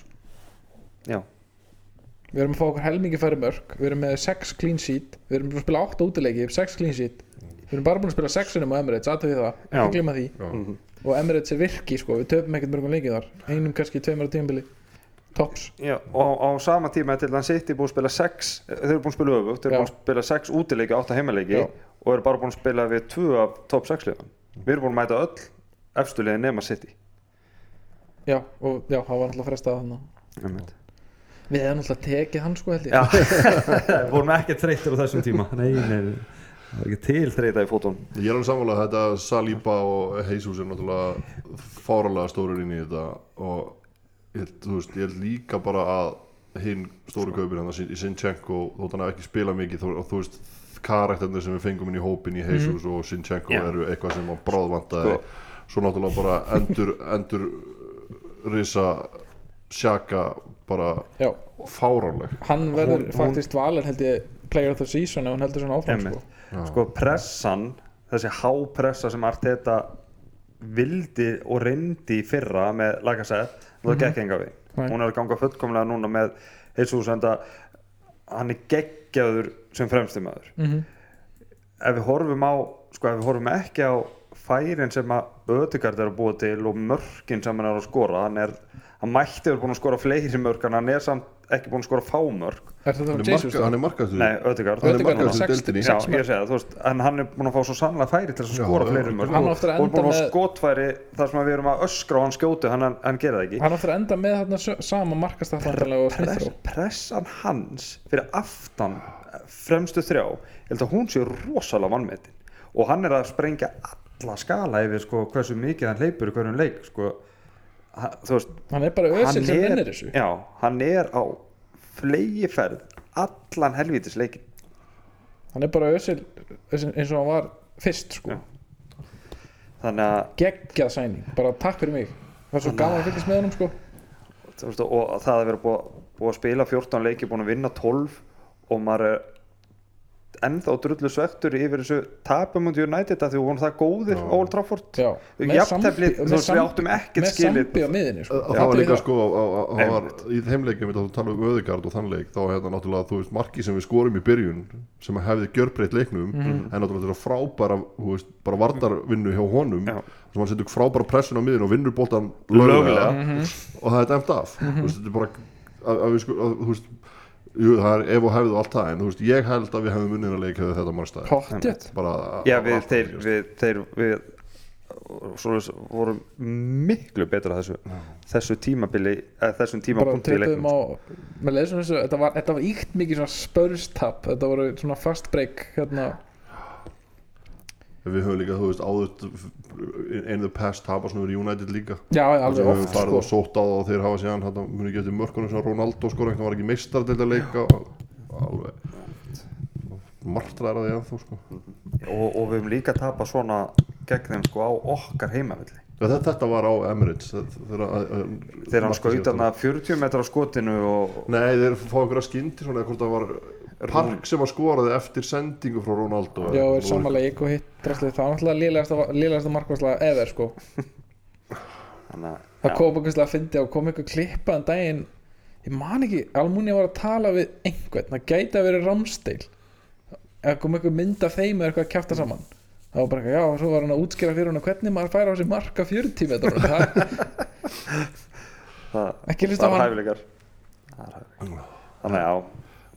Speaker 1: Já,
Speaker 2: við erum að fá okkur helmingi færri mörg við erum með 6 clean sheet við erum búin að spila 8 útileiki 6 clean sheet við erum bara búin að spila 6 unum á Emirates aðtöfið það,
Speaker 1: Já.
Speaker 2: ekki glima því
Speaker 3: Já.
Speaker 2: og Emirates er virki sko, við töpum ekkert mörgum leikið þar einum kannski tveimur á tímabili tops,
Speaker 1: Já, og á sama tíma er til þann City búið að spila 6 þeir eru búin að spila öfugt, þeir eru
Speaker 2: Já.
Speaker 1: búin að spila 6 útileiki og 8 heimaleiki
Speaker 2: Já.
Speaker 1: og eru bara búin að spila við 2 af top 6 liðan við erum búin að mæta öll efstulegin nema City
Speaker 2: já, og já, það var náttúrulega frestað þannig
Speaker 1: Já,
Speaker 2: við hefum náttúrulega tekið hann sko held ég
Speaker 1: við vorum ekki þreytir á þessum tíma nei, nei, það var ekki til þreyta í fótón
Speaker 3: Ég er alveg samfélag að þetta Saliba og Jesus er náttúrulega fáralega stórir inn í þetta og ég, held, þú veist, ég held líka bara að hinn stóru kaupin hann í Sinchenko þótt hann hafi ekki spila mikið þó- og þú veist karakternir sem við fengum inn í hópin í Jesus og Sinchenko
Speaker 1: Mhm. Já.
Speaker 3: eru eitthvað sem hann bráðvantaði
Speaker 1: Sko.
Speaker 3: svo náttúrulega bara endur endur risa sjaka bara
Speaker 2: já,
Speaker 3: fáraleg
Speaker 2: hann verður
Speaker 1: Hún- hún-
Speaker 2: faktist valin held ég player of the season ef hann heldur svona áfram sko.
Speaker 1: sko pressan þessi hápressa sem Arteta vildi og reyndi í fyrra með lagasett, það gekk enga við
Speaker 2: Mhm. Nei.
Speaker 1: hún er að ganga fullkomlega núna með Jesus enda hann er geggjaður sem fremstumæður
Speaker 2: mm
Speaker 1: ef við horfum á sko ef við horfum ekki á færin sem að Ödegard er að búa til og mörkin sem hann er að skora hann, er, hann mætti verið búin að skora fleiri mörk en hann er samt ekki búin að skora fámörk
Speaker 2: er þetta
Speaker 3: Hann
Speaker 2: þá
Speaker 3: er
Speaker 2: Jesus
Speaker 3: marka-
Speaker 2: þá?
Speaker 3: hann er markaður
Speaker 1: nei Ödegard
Speaker 3: hann er
Speaker 2: Ødegaard er
Speaker 3: markaður
Speaker 2: sex-
Speaker 3: deildinni
Speaker 1: Já,
Speaker 2: sex
Speaker 1: ég segi það, þú veist, en hann er búin að fá svo sannlega færi til að
Speaker 3: Já,
Speaker 1: skora
Speaker 3: já.
Speaker 1: fleiri mörg
Speaker 2: Hann á eftir að
Speaker 1: og
Speaker 2: enda
Speaker 1: búin að fá
Speaker 2: með-
Speaker 1: skotfæri þar sem að við erum að öskra á hann skjótu hann, hann gera það ekki
Speaker 2: hann áttur að enda með þarna sö- sama markastatlandanlega og
Speaker 1: Press,
Speaker 2: Smithrow
Speaker 1: pressan hans fyrir aftan eh, fremstu þrjá ég held að hún sé rosalega vannmetin og hann er að sprengja alla skala yfir sko, hversu mikið hann hleypur í hverjum leik sko. hann, þú veist
Speaker 2: hann er bara ösil sem
Speaker 1: er,
Speaker 2: vinnir þessu
Speaker 1: já, hann er á flegiferð allan helvítis leikin
Speaker 2: hann er bara ösil eins og hann var fyrst sko.
Speaker 1: Já. þannig að
Speaker 2: geggjað sæning, bara takk fyrir mig það er svo gaman að fylgjast með honum sko.
Speaker 1: Þú veist, og það að vera búið, búið að spila 14 leiki, búin að vinna 12 og maður er ennþá drullu svektur yfir þessu tapum undir United að því voru það góðir á Old Trafford
Speaker 2: Já.
Speaker 1: jafntefli,
Speaker 2: Sambi-
Speaker 1: þú veist,
Speaker 2: með
Speaker 1: við
Speaker 2: Sambi-
Speaker 1: áttum ekkert
Speaker 2: með
Speaker 1: skilið.
Speaker 2: sambi á miðinni sko.
Speaker 3: það var
Speaker 2: Athugið
Speaker 3: líka
Speaker 2: það.
Speaker 3: sko á- á- á- það var
Speaker 1: Einmitt.
Speaker 3: í heimleikum þá tala um öðugard og þannleik þá hérna náttúrulega þú veist marki sem við skorum í byrjun sem hefði gjörbreytt leiknum
Speaker 1: Mhm.
Speaker 3: en náttúrulega þetta frábæra þú veist, bara vardarvinnu hjá honum
Speaker 1: Já.
Speaker 3: sem hann setur frábæra pressun á miðin og vinnur boltan
Speaker 1: Löglega. Mhm.
Speaker 3: lögulega og það er dæmt af þú veist þetta er bara að, að við sko að, þú veist Jú, það er ef og hefðu og allt það, en þú veist, ég held að við hefðum unnið að leika þetta mannstæði.
Speaker 2: Pottþétt.
Speaker 3: Bara...
Speaker 1: Já,
Speaker 3: allt
Speaker 1: við,
Speaker 3: að
Speaker 1: þeir,
Speaker 3: gerast.
Speaker 1: við, þeir, við svo við vorum miklu betra þessu, þessu tímabili, eða þessum
Speaker 2: bara
Speaker 1: tímapunkti í leiknum.
Speaker 2: töpuðum
Speaker 1: sko.
Speaker 2: á með leiðis og þessu, þetta var, þetta var íkt mikið svona spörstap, þetta voru svona fast break hérna,
Speaker 3: Við höfum líka, þú veist, áður in the past tapast nú í United líka.
Speaker 2: já, já,
Speaker 3: sem
Speaker 2: alveg
Speaker 3: hefur
Speaker 2: oft
Speaker 3: farið
Speaker 2: sko.
Speaker 3: og sótt á það og þeir hafa síðan hérna muni ekki eftir mörkunum sem Ronaldo skor eitthvað var ekki meistar til að leika alveg martraðar að því ennþá sko
Speaker 1: og, og við höfum líka tapað svona gegn þeim sko á okkar heimavilli
Speaker 3: Ja, þetta, þetta var á Emirates þetta- þegar að- að-
Speaker 1: þegar hann
Speaker 3: markið
Speaker 1: skaut
Speaker 3: síðasta-
Speaker 1: hann 40 metra á skotinu og
Speaker 3: Nei, þeir fá einhverja skyndi svona eða hvort það var Park sem að skoraði eftir sendingu frá Ronaldo
Speaker 2: já,
Speaker 3: Nú
Speaker 2: er samanlega ég og hitt drastlið, það var náttúrulega lélegasta lélegasta markvarsla ever sko
Speaker 1: þannig
Speaker 2: það kom einhverslega að fyndi og kom einhver klippa en daginn ég man ekki, Almunia var að tala við einhvern, það gæti að vera Ramsteil eða kom einhver mynd af þeim eða eitthvað að kjæfta saman það var bara eitthvað, já, og svo var hann að útskýra fyrir hann hvernig maður fær á sig marka 40 metrar það,
Speaker 1: að það,
Speaker 2: ekki
Speaker 1: það
Speaker 2: hlusta
Speaker 1: er
Speaker 2: á hann
Speaker 1: hæfileikar það er hæfileikar þannig að já,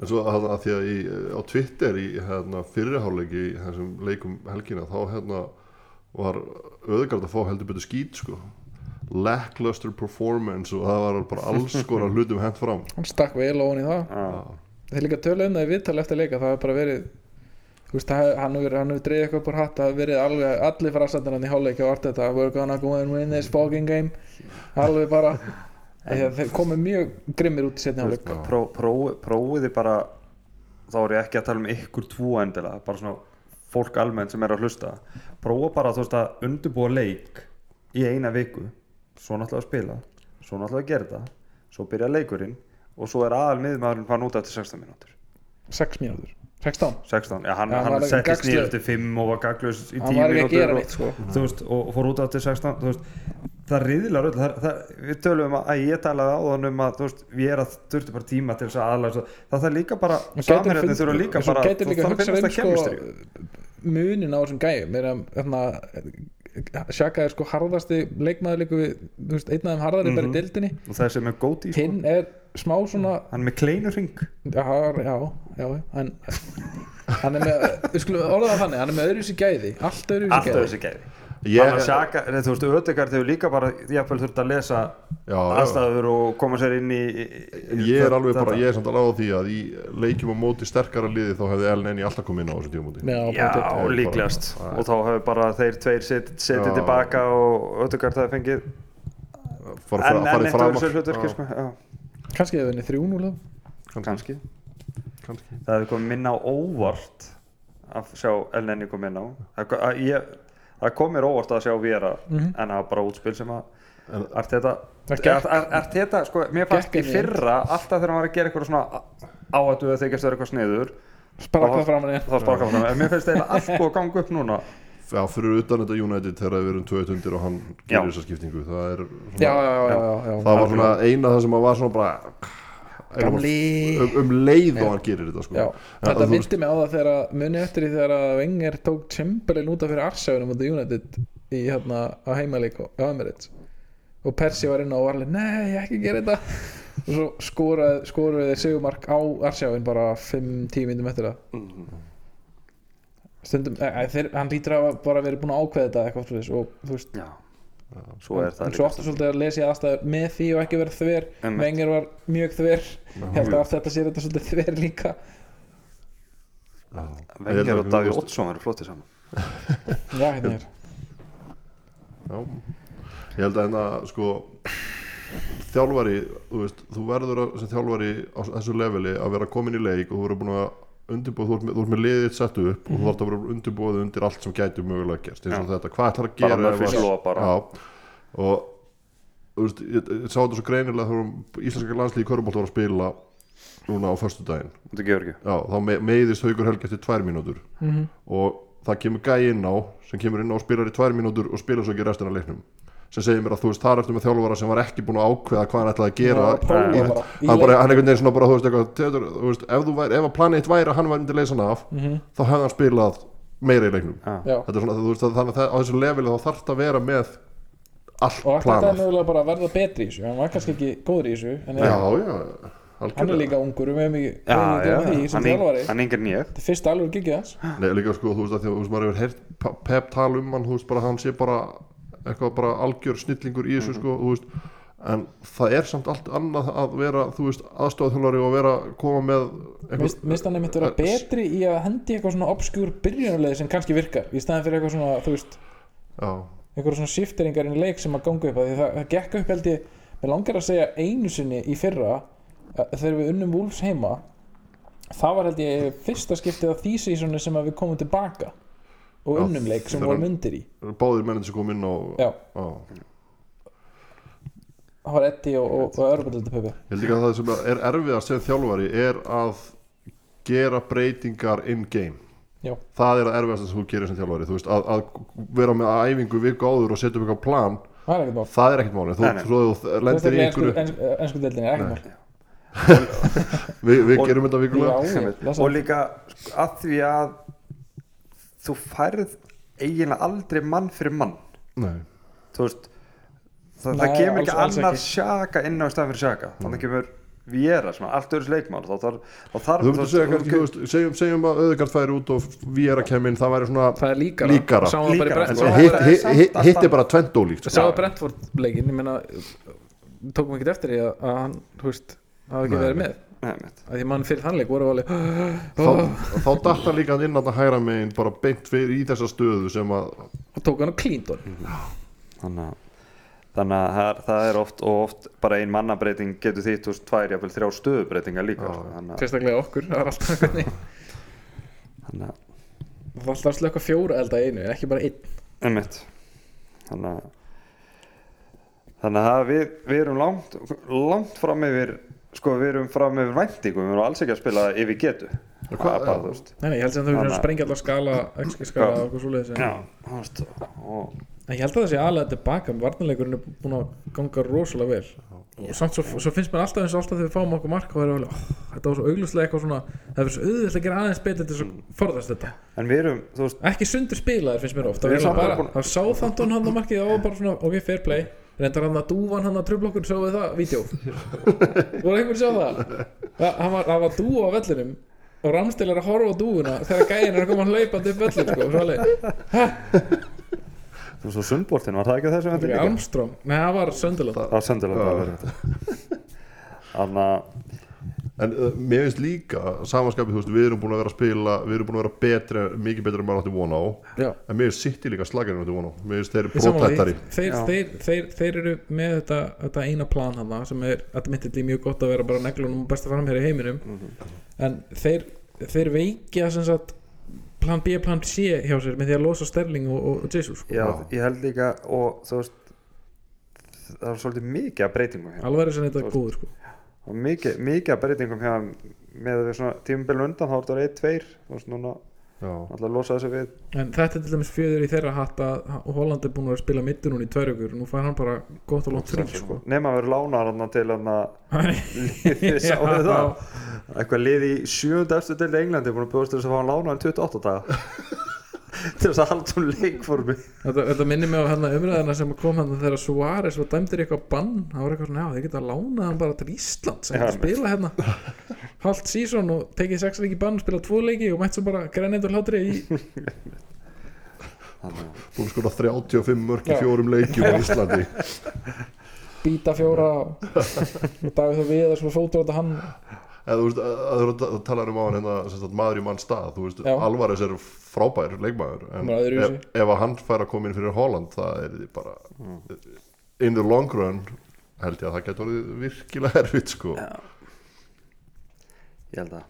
Speaker 3: En svo að, að því að í, á Twitter í hérna, fyrirháleiki í þessum leikum helgina þá hérna var öðgard að fá heldur betur skýt sko lackluster performance og það var bara alls konar hlutum hent fram
Speaker 2: hann stakk vel ofan í það
Speaker 1: já.
Speaker 2: þeir líka tölu um það í viðtal eftir leika það hefur bara verið þú veist, það hef- hann hefur hef dreigð eitthvað upp úr hatt það hefur verið alveg, allir frasendur hann í hálfleik og allt þetta, we're gonna go and win this fucking game alveg bara þeir, þeir komu mjög grimmir út í setni hálfleik
Speaker 1: Pró, prófi- prófiði bara þá er ég ekki að tala um ykkur tvo endilega bara svona fólk almennt sem er að hlusta prófa bara þú veist að undirbúa leik í eina viku svo náttúrulega að spila, svo náttúrulega að gera það svo byrja leikurinn og svo er aðal miðmaðurinn fann út eftir 16 mínútur
Speaker 2: 6 mínútur, 16
Speaker 1: 16, já hann,
Speaker 2: Já, hann var
Speaker 1: hann
Speaker 2: ekki
Speaker 1: settist nýr
Speaker 2: gagnslaus.
Speaker 1: eftir 5 og var gaglaus í 10
Speaker 2: hann var ekki að
Speaker 1: mínútur
Speaker 2: gera
Speaker 1: og,
Speaker 2: neitt sko
Speaker 1: þú veist, og fór út eftir 16 þú veist, það riðilar öll það, það, við tölum um að, að ég talaði á þann um að þú veist, við erum að þurftu bara tíma til þess að aðlæða það þarf líka bara,
Speaker 2: Og gætir
Speaker 1: samherjarnir
Speaker 2: fund-
Speaker 1: þurfa líka
Speaker 2: svo
Speaker 1: bara
Speaker 2: gætir líka
Speaker 1: það
Speaker 2: hugsað
Speaker 1: finnast
Speaker 2: um
Speaker 1: það
Speaker 2: sko
Speaker 1: kemistri
Speaker 2: munin á þessum gæjum er að þarna, Sjaka er sko harðasti leikmaður líka við þú veist, einn af þeim harðari
Speaker 1: Mhm.
Speaker 2: bara í deildinni
Speaker 1: og það sem er góti í sko,
Speaker 2: hinn er smá svona
Speaker 1: hann er með kleinu ring
Speaker 2: já, já, já en, hann er með, við skulum orða það þannig hann er með öðruvísi gæði, allt öðruvísi
Speaker 1: alltaf
Speaker 2: gæði
Speaker 1: þessi gæði
Speaker 3: Ég,
Speaker 1: Þannig að Saka, nei, þú veist, öðvigard hefur líka bara jafnvel þurft að lesa
Speaker 3: já, já,
Speaker 1: aðstæður og koma sér inn í
Speaker 3: En ég er alveg bara, ég er samt alveg á því að í leikjum á móti sterkara liði þá hefði LNN alltaf komið inn á þessum tímamóti
Speaker 2: já,
Speaker 1: Já,
Speaker 2: bara þetta.
Speaker 3: bara-
Speaker 1: líklegast
Speaker 3: Já.
Speaker 1: og þá hefur bara þeir tveir set- setið
Speaker 3: Já.
Speaker 1: tilbaka og öðvigard hefur fengið
Speaker 3: Fara-
Speaker 1: en,
Speaker 3: fara-
Speaker 1: en
Speaker 3: farið
Speaker 1: eitt
Speaker 3: fram
Speaker 1: öðru
Speaker 3: af-
Speaker 1: sér hlutverki
Speaker 3: Já,
Speaker 1: sko, já,
Speaker 2: kannski hefur henni 3-0 þá.
Speaker 1: kannski
Speaker 3: kannski.
Speaker 1: það hefur komið minna á óvart að sjá LNN kom inn á það, ko- að ég, það kom mér óvart að sjá Vera en það var bara útspil sem að
Speaker 3: En-
Speaker 1: Arteta
Speaker 2: Mhm. Það gekk-
Speaker 1: Arteta, sko, mér fannst
Speaker 2: gekk
Speaker 1: í
Speaker 2: ekki
Speaker 1: fyrra alltaf þegar hann var að gera eitthvað svona áhættu að þykjast vera eitthvað sniður
Speaker 2: sprakka fram henni
Speaker 1: þá sprakka hann, en mér finnst það allt búið að ganga upp núna
Speaker 3: Já, fyrir utan þetta United þegar við erum 2 tundir og hann
Speaker 1: Já.
Speaker 3: gerir þessa skiptingu það er svona,
Speaker 2: já, já, já, já, já.
Speaker 3: það var svona eina það sem að var svona bara eiginlega
Speaker 2: Gamli.
Speaker 3: bara um, um leið og hann gerir þetta sko
Speaker 2: Já,
Speaker 3: En
Speaker 2: þetta
Speaker 3: að þú veist-
Speaker 2: myndi mig á það þegar að muni eftir því þegar að Wenger tók Chamberlain út af fyrir Arshavinu mútið United í hérna á heimaleik á á Emirates og Persi var inn á og var alveg nei, ekki gera þetta og svo skoraði skoruði þeir sigumark á Arshavin bara 5-10 myndum eftir það stundum, e, e, þeir, hann lítur að hafa bara verið búin að ákveða þetta eitthvað fyrir þess og þú veist
Speaker 1: já, svo er það
Speaker 2: en svo aftur svolítið að lesa ég aðstæður með því og ekki vera þver
Speaker 1: Einmitt.
Speaker 2: Wenger var mjög þver ég held að aftur þetta sér þetta svolítið þver líka
Speaker 1: Vengar og
Speaker 3: Ég-
Speaker 1: Davíð Oddsson eru flottir saman
Speaker 2: já, hérna er
Speaker 3: Já. ég held að hérna sko þjálfari, þú veist, þú verður að, sem þjálfari á þessu leveli að vera komin í leik og þú verður búin að undirbúa þú ert með, þú ert með liðið þitt sett upp og
Speaker 2: Mhm.
Speaker 3: þú þarf að vera undirbúið undir allt sem gæti mögulega gerst eins og þetta, hvað ætlar að
Speaker 1: Bara
Speaker 3: gera
Speaker 1: Murphy's
Speaker 3: ef að-
Speaker 1: Law bara.
Speaker 3: Já, og þú veist, ég, ég sá þetta svo greinilega þegar íslenska landslíði í Körbólt var að spila núna á föstudaginn
Speaker 1: Þetta gefur ekki
Speaker 3: Já, þá me meiðist Haugur Helgi eftir tvær mínútur -hmm. og það kemur gæi inn á sem kemur inn á og spilar í tvær mínútur og spilar svo ekki restina af leiknum sem segir mér að þú veist þar ertu með þjálfara sem var ekki búin að ákveða hvað hann ætlaði að gera
Speaker 2: Já, prófa
Speaker 3: í-
Speaker 2: bara. Í
Speaker 3: hann bara,
Speaker 2: leik.
Speaker 3: hann einhvern veginn svona bara þú veist, eitthvað, teður, þú veist ef, þú væri, ef að planið eitt væri að hann væri myndi leysan af -hmm. þá hefði hann spilað meira í leiknum
Speaker 1: Já.
Speaker 2: Já.
Speaker 3: þetta er svona, þú veist, að þannig að það- á þessu leveli þá þarft að vera með allt
Speaker 2: og þetta er
Speaker 3: planað
Speaker 2: mögulega bara að verða betri í þessu hann var kannski ekki góður í þessu en
Speaker 3: já, já,
Speaker 2: hann
Speaker 3: algjörlega.
Speaker 2: er líka ungur við höfum ekki
Speaker 1: Já,
Speaker 2: við höfum
Speaker 1: já,
Speaker 2: ekki glemt því sem
Speaker 1: hann er-
Speaker 2: þjálfari
Speaker 1: hann er yngri en ég
Speaker 2: þetta er fyrst alveg gigið hans
Speaker 3: Nei, líka sko, þú veist að því að þú veist, maður hefur heyrt Pep tala um hann, þú veist, bara að hann sé bara eitthvað bara algjör snillingur í þessu sko, þú veist, en það er samt allt annað að vera, þú veist, aðstofþjólari og vera, koma með eitthvað,
Speaker 2: Mist- minnst hann einmitt vera
Speaker 3: Eh,
Speaker 2: betri í að hendi eitthvað svona obskjúr byrjunarlega sem kannski virkar í staðin fyrir eitthvað svona þú veist
Speaker 3: já,
Speaker 2: eitthvað svona shifteringar inn í leik sem að ganga upp að því það, það gekk upp held ég mér langar að segja einu sinni í fyrra að þegar við unnum Wolves heima það var held ég fyrsta skiptið á því seasoni sem að við komum tilbaka og
Speaker 3: Já,
Speaker 2: unnum leik sem
Speaker 3: þegar
Speaker 2: við vorum
Speaker 3: hann-
Speaker 2: undir í
Speaker 3: báðir mennir sem kom inn og,
Speaker 2: já
Speaker 3: já,
Speaker 2: það var Eddie og, og, og Örbudeldapubi
Speaker 3: ég held ekki að það sem er erfiðast sem þjálfari er að gera breytingar in-game.
Speaker 2: já
Speaker 3: það er að erfiðast sem þú gerir sem þjálfari þú veist, að, að vera með æfingu viku áður og setja upp eitthvað plan
Speaker 2: það er ekkert mál
Speaker 3: það er ekkert máli þú,
Speaker 1: Nei, nei.
Speaker 3: svo þú lendir í einhverju
Speaker 2: ennsku deildinni, er ekkert mál
Speaker 3: við, við
Speaker 1: Og-
Speaker 3: gerum þetta vikulega
Speaker 2: já, ég, lesa
Speaker 1: og líka sko, að því að þú færð eiginlega aldrei mann fyrir mann
Speaker 3: Nei.
Speaker 1: þú veist það,
Speaker 2: Nei,
Speaker 1: það kemur ekki
Speaker 2: alls- alls
Speaker 1: annar
Speaker 2: ekki.
Speaker 1: sjaka inn á staðan fyrir sjaka
Speaker 3: Mm.
Speaker 1: þannig kemur Viera sem er allt öðru sleikmál þá þarf þá þarf
Speaker 3: þú myndir segja kannski, þú veist, segjum, segjum að öðugard færi út og við erum að kemja inn það væri svona
Speaker 2: það er líkara,
Speaker 3: Líkara.
Speaker 2: Sáum það bara í
Speaker 1: Líkara,
Speaker 2: Brentford.
Speaker 1: en
Speaker 3: En
Speaker 1: það
Speaker 3: hitt-
Speaker 1: er
Speaker 3: hitt-
Speaker 1: samt
Speaker 3: hitt-
Speaker 1: allt
Speaker 3: hitt er
Speaker 1: annað.
Speaker 3: bara tvent ólíkt sko.
Speaker 2: Sáum við Brentford leikin, ég meina tókum ekki eftir því að, að hann, þú veist það hafði ekki
Speaker 3: Nei.
Speaker 2: verið með,
Speaker 1: Nei, mitt.
Speaker 2: að því mann fyrir þannleik voru alveg
Speaker 3: þá,
Speaker 2: og
Speaker 3: þá datt hann líka inn að hægra megin bara beint fyrir í þessa stöðu sem að
Speaker 2: tók hann og klínt honum
Speaker 1: þannig að þannig að það er, það er oft og oft bara ein mannabreiting getur þýtt úr tvær jafnvel þrjá stöðubreitingar líka
Speaker 3: Já.
Speaker 1: sko, þannig að,
Speaker 2: sérstaklega okkur, það er alltaf hvernig
Speaker 1: þannig að
Speaker 2: það var alltaf að slöka fjóra elda í einu, en ekki bara einn
Speaker 1: Einmitt. Þannig að þannig að við, við erum langt, langt fram yfir sko við erum fram yfir væntingum við erum alls ekki að spila yfir getu
Speaker 3: Já,
Speaker 1: Það
Speaker 3: hvað-
Speaker 1: er bara, þú veist.
Speaker 2: nei, nei, ég held sem þau
Speaker 1: Þannig
Speaker 2: verður
Speaker 1: að-
Speaker 2: að sprengja allar skala ekki skala og eitthvað svoleiðis en-
Speaker 1: Já, þú veist, og,
Speaker 2: en ég held að það sé aðlega tilbaka varnarleikurinn er búin að ganga rosalega vel og samt svo, svo finnst mér alltaf eins og alltaf þegar við fáum okkur mark og það er alveg, oh, þetta var svo auglustlega eitthvað svona það er svo auðvitað að gera aðeins betur til þess að forðast þetta
Speaker 1: en við erum þú veist,
Speaker 2: ekki sundur spilaðir finnst mér ofta
Speaker 1: Við erum samt
Speaker 2: bara,
Speaker 1: búin-
Speaker 2: það sá þantón hann að markið það var bara svona, ok, fair play reyndar hann að dúvan hann að tröflokkun sáu þið það, vídeo voru einhvern sjá það það hann var, hann var dúa á vellinum og Ramstil er að horfa á dúuna þegar gæðin er að koma hlaupandi upp vellin sko, svo alveg,
Speaker 1: þú veist og sundbóltinn var það ekki þessu
Speaker 2: það
Speaker 1: vendir
Speaker 2: er
Speaker 1: líka?
Speaker 2: Armstrong nei, það var Söndaland
Speaker 1: Það var sendilega bara verið þetta Þannig að
Speaker 3: en uh, mér finnst líka samanskapið, þú veist, við erum búin að vera að spila við erum búin að vera betri, mikið betri en maður átti von á
Speaker 2: já
Speaker 3: en mér finnst sitt í líka slagir en maður átti von á mér finnst þeir eru
Speaker 2: Ég sammála því.
Speaker 3: brotættari
Speaker 2: þeir,
Speaker 1: Já.
Speaker 2: þeir, þeir, þeir eru með þetta, þetta eina plan hana sem er, þetta myndi því mjög gott að vera bara neglunum og besta framherri í heiminum
Speaker 1: Mhm.
Speaker 2: en þeir, þeir veikja sem sagt plan B, plan C hjá sér með því að losa Sterling og, og, og Jesus sko.
Speaker 1: já,
Speaker 3: Já.
Speaker 1: ég held líka og þú veist það var svolítið mikið af breytingum hérna
Speaker 2: alveg er sem þetta
Speaker 1: Þú-
Speaker 2: er góður sko.
Speaker 1: og mikið, mikið af breytingum hérna með að við svona tímubilun undan þá er það eitt, tveir þú veist núna
Speaker 3: já,
Speaker 1: alltaf að losa þessu við
Speaker 2: en þetta er til dæmis fjöður í þeirra hatt að Holland er búin að vera að spila middur núna í tværjökur og nú fær hann bara gott og langt frí sko.
Speaker 1: sko. nema að vera lánar hann til hann liði,
Speaker 2: Já.
Speaker 1: sáu þið það eitthvað liði í sjöunda eftir til Englandi er búin að bjóðast til þess að fá hann lánar í 28 daga til þess að halda hún leikformi
Speaker 2: Þetta, þetta minnir mig á hérna umræðina sem kom hann þegar Suárez var dæmdur í eitthvað bann það var eitthvað svona, já, þeir geta að lána hann bara til Ísland sem
Speaker 1: Já,
Speaker 2: geta að spila hérna halvt sísón og tekið sex leiki í bann spila tvo leiki og mætt svo bara grænend og hlátri í
Speaker 3: búin að skora 35 mörg í
Speaker 2: Já.
Speaker 3: fjórum leikjum á Íslandi
Speaker 2: býta fjóra og Davíð og við sem fótur átta hann
Speaker 3: eða þú veist, að, að, að, að tala um á hann hérna, sem sagt, maður í mann stað, þú veist,
Speaker 2: Já.
Speaker 3: Alvarez er frábær leikmaður, en
Speaker 2: Bara öðruvísi.
Speaker 3: ef, ef að hann fær að koma inn fyrir Holland, það er bara
Speaker 2: Mm.
Speaker 3: in the long run held ég að það getur orðið virkilega erfitt sko,
Speaker 1: ég held að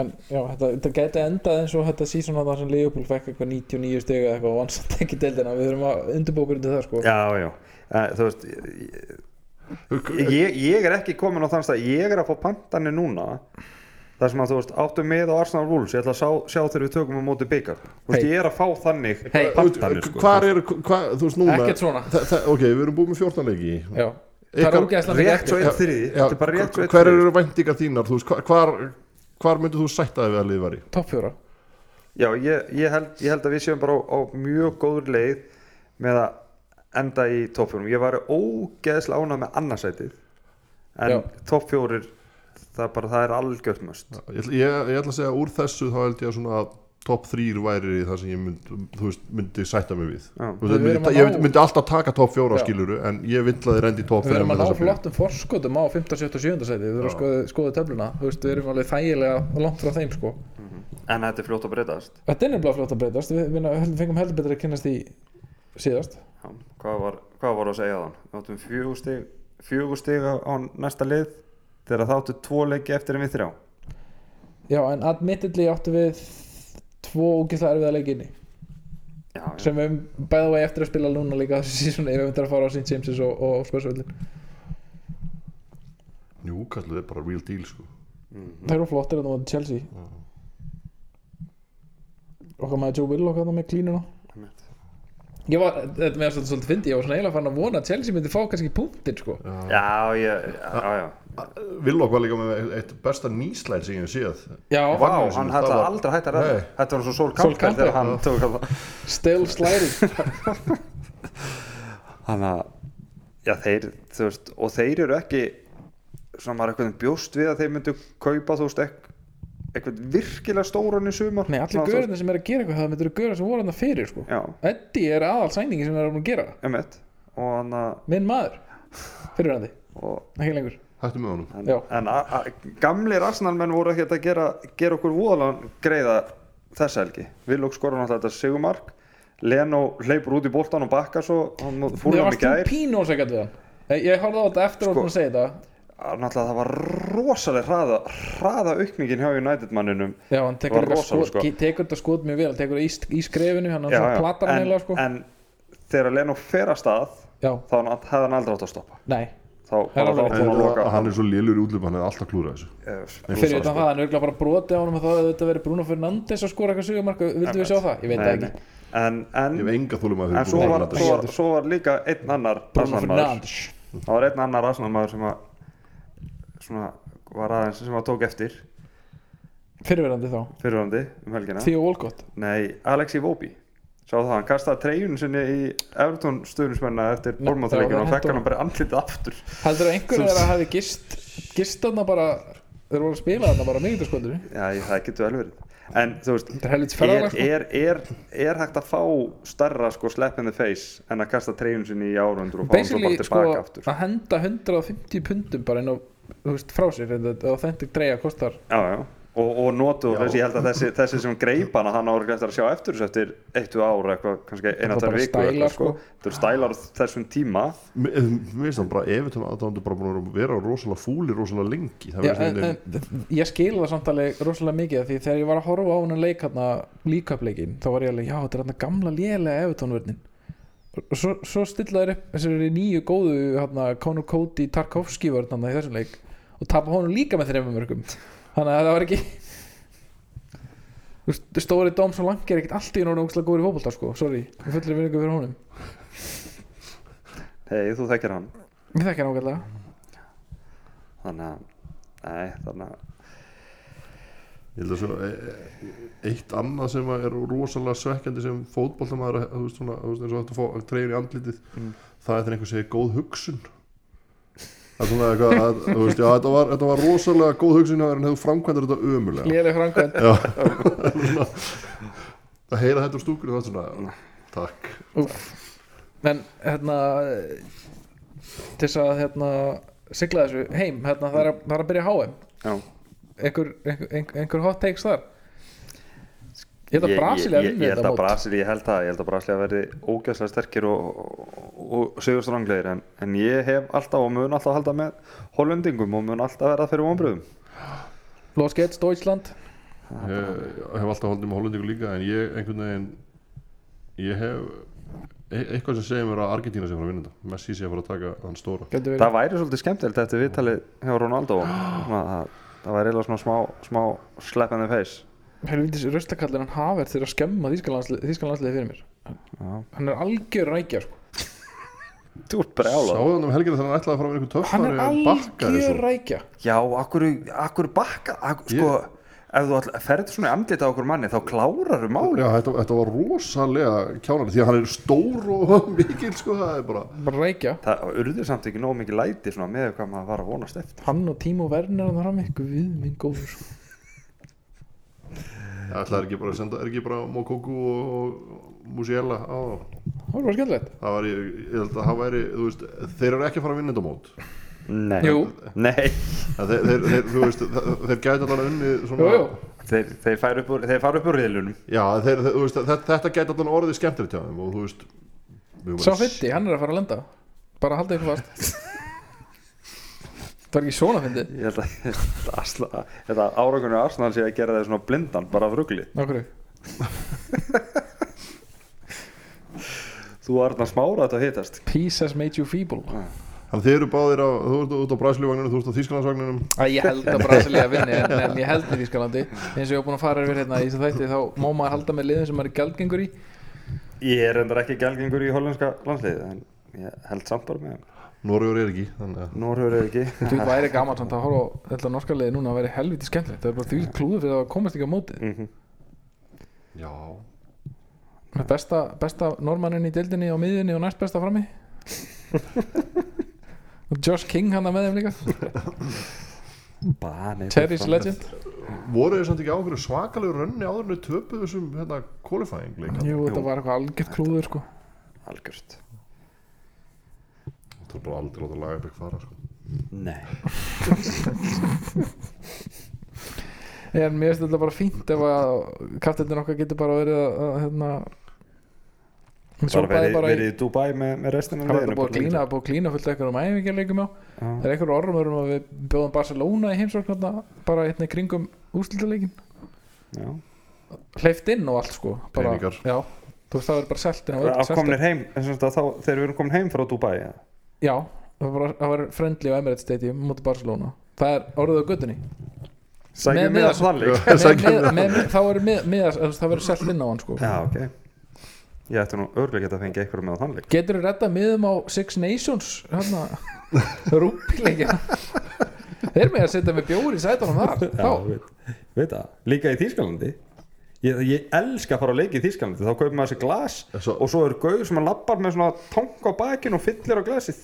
Speaker 2: en já, þetta, þetta gæti endað eins og þetta sísón að það sem Leopold fekk eitthvað 99 stegu eða eitthvað og hann satt ekki deildina við þurfum að undirbókur undir það sko
Speaker 1: já, já, Eh, þú veist ég,
Speaker 3: yeah.
Speaker 1: ég- ég er ekki komin á þann stað ég er að fá pantanir núna þar sem að þú veist, áttu með á Arsenal Wolves ég ætla að sjá, sjá þegar við tökum á móti byggar þú veist,
Speaker 2: Hey.
Speaker 1: ég er að fá þannig
Speaker 2: Hey.
Speaker 1: pantanir sko.
Speaker 3: eh, hvar er, hvar, þú veist, núna
Speaker 2: ekkert svona,
Speaker 3: þa- þa- ok, við erum búin með 14 leiki
Speaker 2: já það er
Speaker 3: Ykkar-
Speaker 2: ógeðslega mikið
Speaker 1: rétt
Speaker 2: eftir
Speaker 1: svo einn þriði
Speaker 3: Já,
Speaker 1: þetta er bara rétt svo einn
Speaker 3: hver
Speaker 1: þriði
Speaker 3: eru væntingar þínar, þú veist, hvar- hvar, hvar myndir þú sætta þig við að liðvari?
Speaker 2: topp fjóra
Speaker 1: Já, ég, ég, held, ég held að við séum bara á, á mjög góður leið með að enda í toppfjórum. Ég var ógeðslega ánað með annarsætið en
Speaker 2: Já.
Speaker 1: toppfjórir það er bara, það er algjört möst.
Speaker 3: Ég, ætla- ég, ég ætla að segja að úr þessu þá held ég að svona top 3 væri það sem ég mynd, þú veist, myndi sætta mig við
Speaker 1: Já.
Speaker 3: Þú veist,
Speaker 2: Við
Speaker 3: myndi,
Speaker 2: erum að
Speaker 3: ég
Speaker 2: ná-
Speaker 3: myndi alltaf taka top 4
Speaker 2: Já.
Speaker 3: skiluru en ég vill að þið rendi top 5
Speaker 2: Við erum að ná flottum forskottum á 15, 17, 17 seti Við erum að skoða, skoða töfluna Þú veist, Við erum alveg þægilega langt frá þeim sko.
Speaker 1: En þetta er fljótt að breytast.
Speaker 2: Þetta er nefnilega fljótt að breytast Við, við held- fengum heldur betur að kynnast því síðast
Speaker 1: Já, hvað var, hvað var að segja þann? Við áttum fjögur stig, fjögur stig á, á næsta lið þegar það áttu tvo leiki eftir en við þrjá.
Speaker 2: Já, en admittedly áttu við Tvo ógeðslega erfiða leikinni
Speaker 1: Já, já.
Speaker 2: Sem við höfum bæða vegi eftir að spila núna líka Þessi sísunni, við höfum þetta að fara á St. James's og, og Spörsvöldin
Speaker 3: Jú, kallu, er bara real deal sko.
Speaker 2: Það eru flottir að það var Chelsea
Speaker 1: Mm.
Speaker 2: Okkar maður Joe Willock að það hérna með klínuna
Speaker 1: einmitt.
Speaker 2: Ég var, þetta með svolítið svolítið fyndi, ég var svona eiginlega fann að vona að Chelsea myndi fá kannski punktin sko
Speaker 1: Já, ég, já, já
Speaker 3: Villok var líka með eitt besta nýslæð sem ég hef séð
Speaker 2: Já,
Speaker 3: Ég
Speaker 1: Vá,
Speaker 3: Magnússon,
Speaker 1: hann
Speaker 3: það
Speaker 1: hætti
Speaker 3: var-
Speaker 1: aldrei hætti að ræða
Speaker 3: Nei.
Speaker 1: Þetta var svo Sol
Speaker 2: Sol
Speaker 1: Campbell þegar hann tók að
Speaker 2: still sliding
Speaker 1: Þannig að Já, þeir, þú veist, og þeir eru ekki Svona maður eitthvað bjóst við að þeir myndu kaupa, þú veist, ekk, eitthvað virkilega stóran í sumar
Speaker 2: Nei, allir
Speaker 1: Svona, þú veist,
Speaker 2: görðin sem er að gera eitthvað það myndir að görða sem voru hann fyrir sko
Speaker 1: Já,
Speaker 2: Eddie er aðal sæningi sem er að gera
Speaker 1: emmett Og hann að
Speaker 2: Minn maður, fyrir hann
Speaker 1: og-
Speaker 2: ekki lengur
Speaker 3: Hættu með honum
Speaker 2: Já.
Speaker 1: En, en a, a, gamlir arsenalmenn voru ekkert að gera, gera okkur voðalega greiða þessa helgi Villok skora náttúrulega þetta sigumark Leno hleypur út í boltan og bakka svo hann fúlum hann í
Speaker 2: Mér varst þú
Speaker 1: gær
Speaker 2: pínu ósækjað við hann Ég, ég horfði á þetta eftir
Speaker 1: Sko.
Speaker 2: sko. að segja þetta
Speaker 1: náttúrulega það var rosalega hraða, hraða aukningin hjá United manninum
Speaker 2: Já, hann tekur,
Speaker 1: Var
Speaker 2: líka
Speaker 1: rosalega,
Speaker 2: skot,
Speaker 1: sko.
Speaker 2: ge- tekur þetta skot mjög vel hann tekur það í, st- í skrefinu, hann
Speaker 1: Já,
Speaker 2: hann
Speaker 1: já.
Speaker 2: platar hann
Speaker 1: En-
Speaker 2: eiginlega sko
Speaker 1: en þegar Leno fer að stað
Speaker 2: Já,
Speaker 1: þá hann- hefði hann aldrei átt að stoppa
Speaker 2: nei,
Speaker 1: þá var það
Speaker 2: alveg rétt.
Speaker 1: búin að loka
Speaker 3: Hann er svo lélur í útlum, hann er alltaf klúrað þessu
Speaker 1: Eh,
Speaker 2: fyrir
Speaker 3: Rosalega,
Speaker 2: utan
Speaker 3: sko.
Speaker 2: það, hann er örgulega bara brotið á hann og það hefði þetta verið Bruno Fernandes að skora eitthvað sigumarka, vildu við sjá það? Ég veit það
Speaker 1: nei,
Speaker 2: ekki
Speaker 1: nei. en,
Speaker 3: Ég
Speaker 1: en,
Speaker 3: hef enga þólum að
Speaker 1: en svo, var,
Speaker 2: Nei,
Speaker 1: svo, var,
Speaker 2: heldur.
Speaker 1: svo var líka einn annar
Speaker 2: Bruno
Speaker 1: Arsenal-maður.
Speaker 2: Fernandes
Speaker 1: það var einn annar Arsenal-maður sem að svona var aðeins sem að tók eftir
Speaker 2: Fyrirverandi þá,
Speaker 1: fyrirhandi um helgina
Speaker 2: Theo Walcott
Speaker 1: nei, Alexi Vobi sá það, hann kastaði treyjun sinni í Everton stöðnismenna eftir
Speaker 2: Nei,
Speaker 1: bormáþreikinu
Speaker 2: það
Speaker 1: og
Speaker 2: var
Speaker 1: fekk
Speaker 2: hendur-
Speaker 1: hann bara andlitið aftur
Speaker 2: Heldur að einhverju þeirra hafi gist gist þarna bara, þeir voru að spila þarna bara miðvítaskvöldinu
Speaker 1: já, ég, það getur vel verið en þú veist,
Speaker 2: Þetta er helvits
Speaker 1: er,
Speaker 2: ferðalag sko
Speaker 1: er, er, er hægt að fá starra sko slap in the face en að kasta treyjun sinni í árundur og fá hann svo bara
Speaker 2: Basically sko
Speaker 1: tilbaka aftur
Speaker 2: að henda 150 pundum bara inn á þú veist, frá sér en þetta authentic treyja kostar
Speaker 1: já, já Og, og notu,
Speaker 3: Já.
Speaker 1: þessi, ég held að þessi, þessi sem greip hana hann ára eftir að sjá eftir þessu eftir eittu ára eitthvað, kannski eina
Speaker 2: var
Speaker 1: tær
Speaker 2: bara
Speaker 1: viku
Speaker 2: stælar,
Speaker 1: eitthvað,
Speaker 2: sko.
Speaker 1: þetta er stælar á þessum tíma
Speaker 3: Mér mér finnst hann bara, Evertón aðdándu bara búin að vera rosalega fúli, rosalega lengi
Speaker 2: Já,
Speaker 3: Það
Speaker 2: en,
Speaker 3: verður einhvern veginn-
Speaker 2: en, ég skil það samtalið rosalega mikið af því þegar ég var að horfa á hennan leik hérna líkapleikin þá var ég alveg, já þetta er hérna gamla lélega efutónvörnin og svo, svo stilla þér upp þessari nýju góðu hérna Conor Cody Tarkovski vörn hérna í þessum leik og tapa honum líka með þreifum mörgum þannig að það var ekki Þú veist, stóri dóm svo langi er ekkert allt í náttúrulega ógstlega góður í fótbolta sko, sorry, við fullir vinningu fyrir honum
Speaker 1: Hei, þú þekkir hann
Speaker 2: ég þekki hann ágætlega
Speaker 1: Þannig að, nei, þannig að
Speaker 3: Ég held að svo e- e- eitt annað sem að er rosalega svekkjandi sem fótboltamaður að- þú veist svona, þú veist eins og þetta að fá treyjun í andlitið það er þegar einhver segir góð hugsun það er svona eitthvað að, þú veist, já, þetta, var, þetta var rosalega góð hugsun hjá þér en hefur framkvæmdur þetta ömulega
Speaker 2: lélega framkvæmt
Speaker 3: Já, svona, að heyra þetta úr stúkunni það er svona, takk
Speaker 2: Úff. En hérna til þess að hérna sigla þessu heim, hérna það er að, það er að byrja HM
Speaker 1: Já,
Speaker 2: einhver, einhver, einhver- einhver hot takes þar Ég held að
Speaker 1: Ég-
Speaker 2: Brasilia
Speaker 1: ég- ég-
Speaker 2: vinni
Speaker 1: Ég held
Speaker 2: þetta
Speaker 1: að
Speaker 2: mót
Speaker 1: Brasilia, ég held að, ég held að Brasilia verði ógæslega sterkir og, og, og sigurstranglegir en, en ég hef alltaf og mun alltaf halda með hollendingum og mun alltaf verða fyrir vonbröðum
Speaker 2: Los Gates, Deutschland
Speaker 3: ég, ég hef alltaf holdið með hollendingu líka en ég einhvern veginn ég hef e- eitthvað sem segir mér að Argentína sé að fara að vinna þetta Messi sé að fara að taka hann stóra
Speaker 2: Gæti verið
Speaker 1: Það væri svolítið skemmtilegt eftir viðtalið hjá Ronaldo Svona, það, það væri eiginlega svona smá, smá slap in the face
Speaker 2: Helvítis röstakallin hann Havert þegar að skemma Þískalandsliði fyrir mér
Speaker 1: Já.
Speaker 2: Hann er algjör rækja sko
Speaker 1: Þú ert brjála
Speaker 3: Sáðu hann um helgina þegar hann ætlaði að fara með
Speaker 2: Hann
Speaker 3: einhvern töffari
Speaker 2: er
Speaker 3: en bakkaði
Speaker 2: algjör
Speaker 3: svo
Speaker 2: rækja
Speaker 1: Já, akkur, akkur bakka akkur,
Speaker 3: Ég-
Speaker 1: sko, ef þú all, ferð svona í andlit á okkur manni þá klárar þú máli
Speaker 3: Já, þetta, þetta var rosalega kjánandi því að hann er stór og mikil sko, það er bara
Speaker 2: Bara rækja
Speaker 1: það urðu samt ekki nóg mikið læti svona með hvað maður var að vonast eftir
Speaker 2: Hann og Tímo Werner hann fram eitthvað við minn góður sko.
Speaker 3: Já, ætlaði er ekki bara að senda, er ekki bara Mokoku og, og Musiela á þá.
Speaker 2: Það var bara skemmtilegt
Speaker 3: það væri, ég held að það væri, þú veist þeir eru ekki að fara að vinna þetta mót
Speaker 1: Nei,
Speaker 2: Jú.
Speaker 1: Nei.
Speaker 3: En þeir, þeir, þeir, þú veist, þe- þeir gæti allan unni svona,
Speaker 2: Jú, jú
Speaker 1: Þeir, þeir, færu upp úr, þeir fara upp úr riðlunum
Speaker 3: já, þeir, þeir, þú veist, þetta, þetta gæti allan orðið skemmtilegt hjá þeim og þú veist við
Speaker 2: Sá
Speaker 3: vorum að-
Speaker 2: fyndi, hann er að fara að lenda Bara haldið ykkur fast Það var ekki svona fyndi
Speaker 1: Ég held að- ég held að Asla- ég held að árakunni Arsenal sé að gera þeir svona blindan bara af ruggli
Speaker 2: Nákvæmri
Speaker 1: Þú Arnar smára þetta að hitast
Speaker 2: Peace has made you feeble
Speaker 3: Þannig þeir eru báðir á, þú ert út á Bræsljúvagninu, þú ert á Þísklandsvagninu
Speaker 2: Æ, ég held að Brasilia vinni en, en ég held með Þískalandi eins og ég var búin að fara yfir hérna í þessu þætti þá má maður halda með liðum sem maður er gælgengur í
Speaker 1: Ég er endar ekki gælgengur í hollenska landsliði en ég held samt bara með þeim.
Speaker 3: Norrjóri er ekki þannig að
Speaker 1: Norður er ekki
Speaker 2: Þú veit, væri gaman samt að horfa á þetta norska liði núna að væri helviti skemmtilegt Það er bara því klúður fyrir að komast ekki á mótið
Speaker 1: Mhm.
Speaker 3: Já
Speaker 2: Með besta, besta normannin í deildinni á miðinni og næst besta frammi Og Josh King hann með þeim líka
Speaker 1: Bani
Speaker 2: Terry's legend
Speaker 3: Voru þið samt ekki á einhverju svakalegu rönni áður en þau töpuðu þessum hérna qualifying leik
Speaker 2: Jú, þetta var eitthvað algjört klúður sko
Speaker 1: Algjört
Speaker 3: Þú er bara aldrei láta laga upp ekki fara sko.
Speaker 1: Nei
Speaker 2: En mér finnst þetta bara fínt ef að kapteinnir okkar getur bara verið að, að hérna
Speaker 1: Bara verið,
Speaker 2: bara
Speaker 1: verið í um Dubai með, með restina
Speaker 2: Það var þetta búið að klína, búið að klína fullt eitthvað um æfingarleikum á Það er eitthvað orðum að við bjóðum Barcelona í heimsóknarna bara hérna í kringum úrslutaleikin
Speaker 1: Já
Speaker 2: Hleyft inn og allt sko bara,
Speaker 3: Peningar.
Speaker 2: Já, þú veist það verður bara selt inn á öll,
Speaker 1: Af
Speaker 2: selt inn.
Speaker 1: komnir heim, sem sagt að þá, þegar við erum komin heim frá Dubai ja.
Speaker 2: Já, það var, það var friendly á Emirates Stadium mútið Barcelona Það er orðið á göttunni
Speaker 1: Sækjum
Speaker 2: Með-
Speaker 1: við
Speaker 2: með-
Speaker 1: að svalli
Speaker 3: Já.
Speaker 2: Með-
Speaker 3: Sækja
Speaker 2: með-
Speaker 3: hann.
Speaker 2: með- Þá verður með- með- þú veist, það verður selt inn á hann sko
Speaker 1: Já, ok Ég ætti nú örglega geta að fengja eitthvað með á þannleik
Speaker 2: Getur þú redda miðum á Six Nations hérna, rúpileikja Þeir með að setja með bjóri í sætunum þar
Speaker 1: Já,
Speaker 2: þá.
Speaker 1: veit, veit það, líka í Þýskalandi ég, ég elska að fara að leika í Þýskalandi þá kaupir maður þessi glas
Speaker 3: En svo-
Speaker 1: og svo er gaur sem að lappar með svona tank á bakinn og fyllir á glasið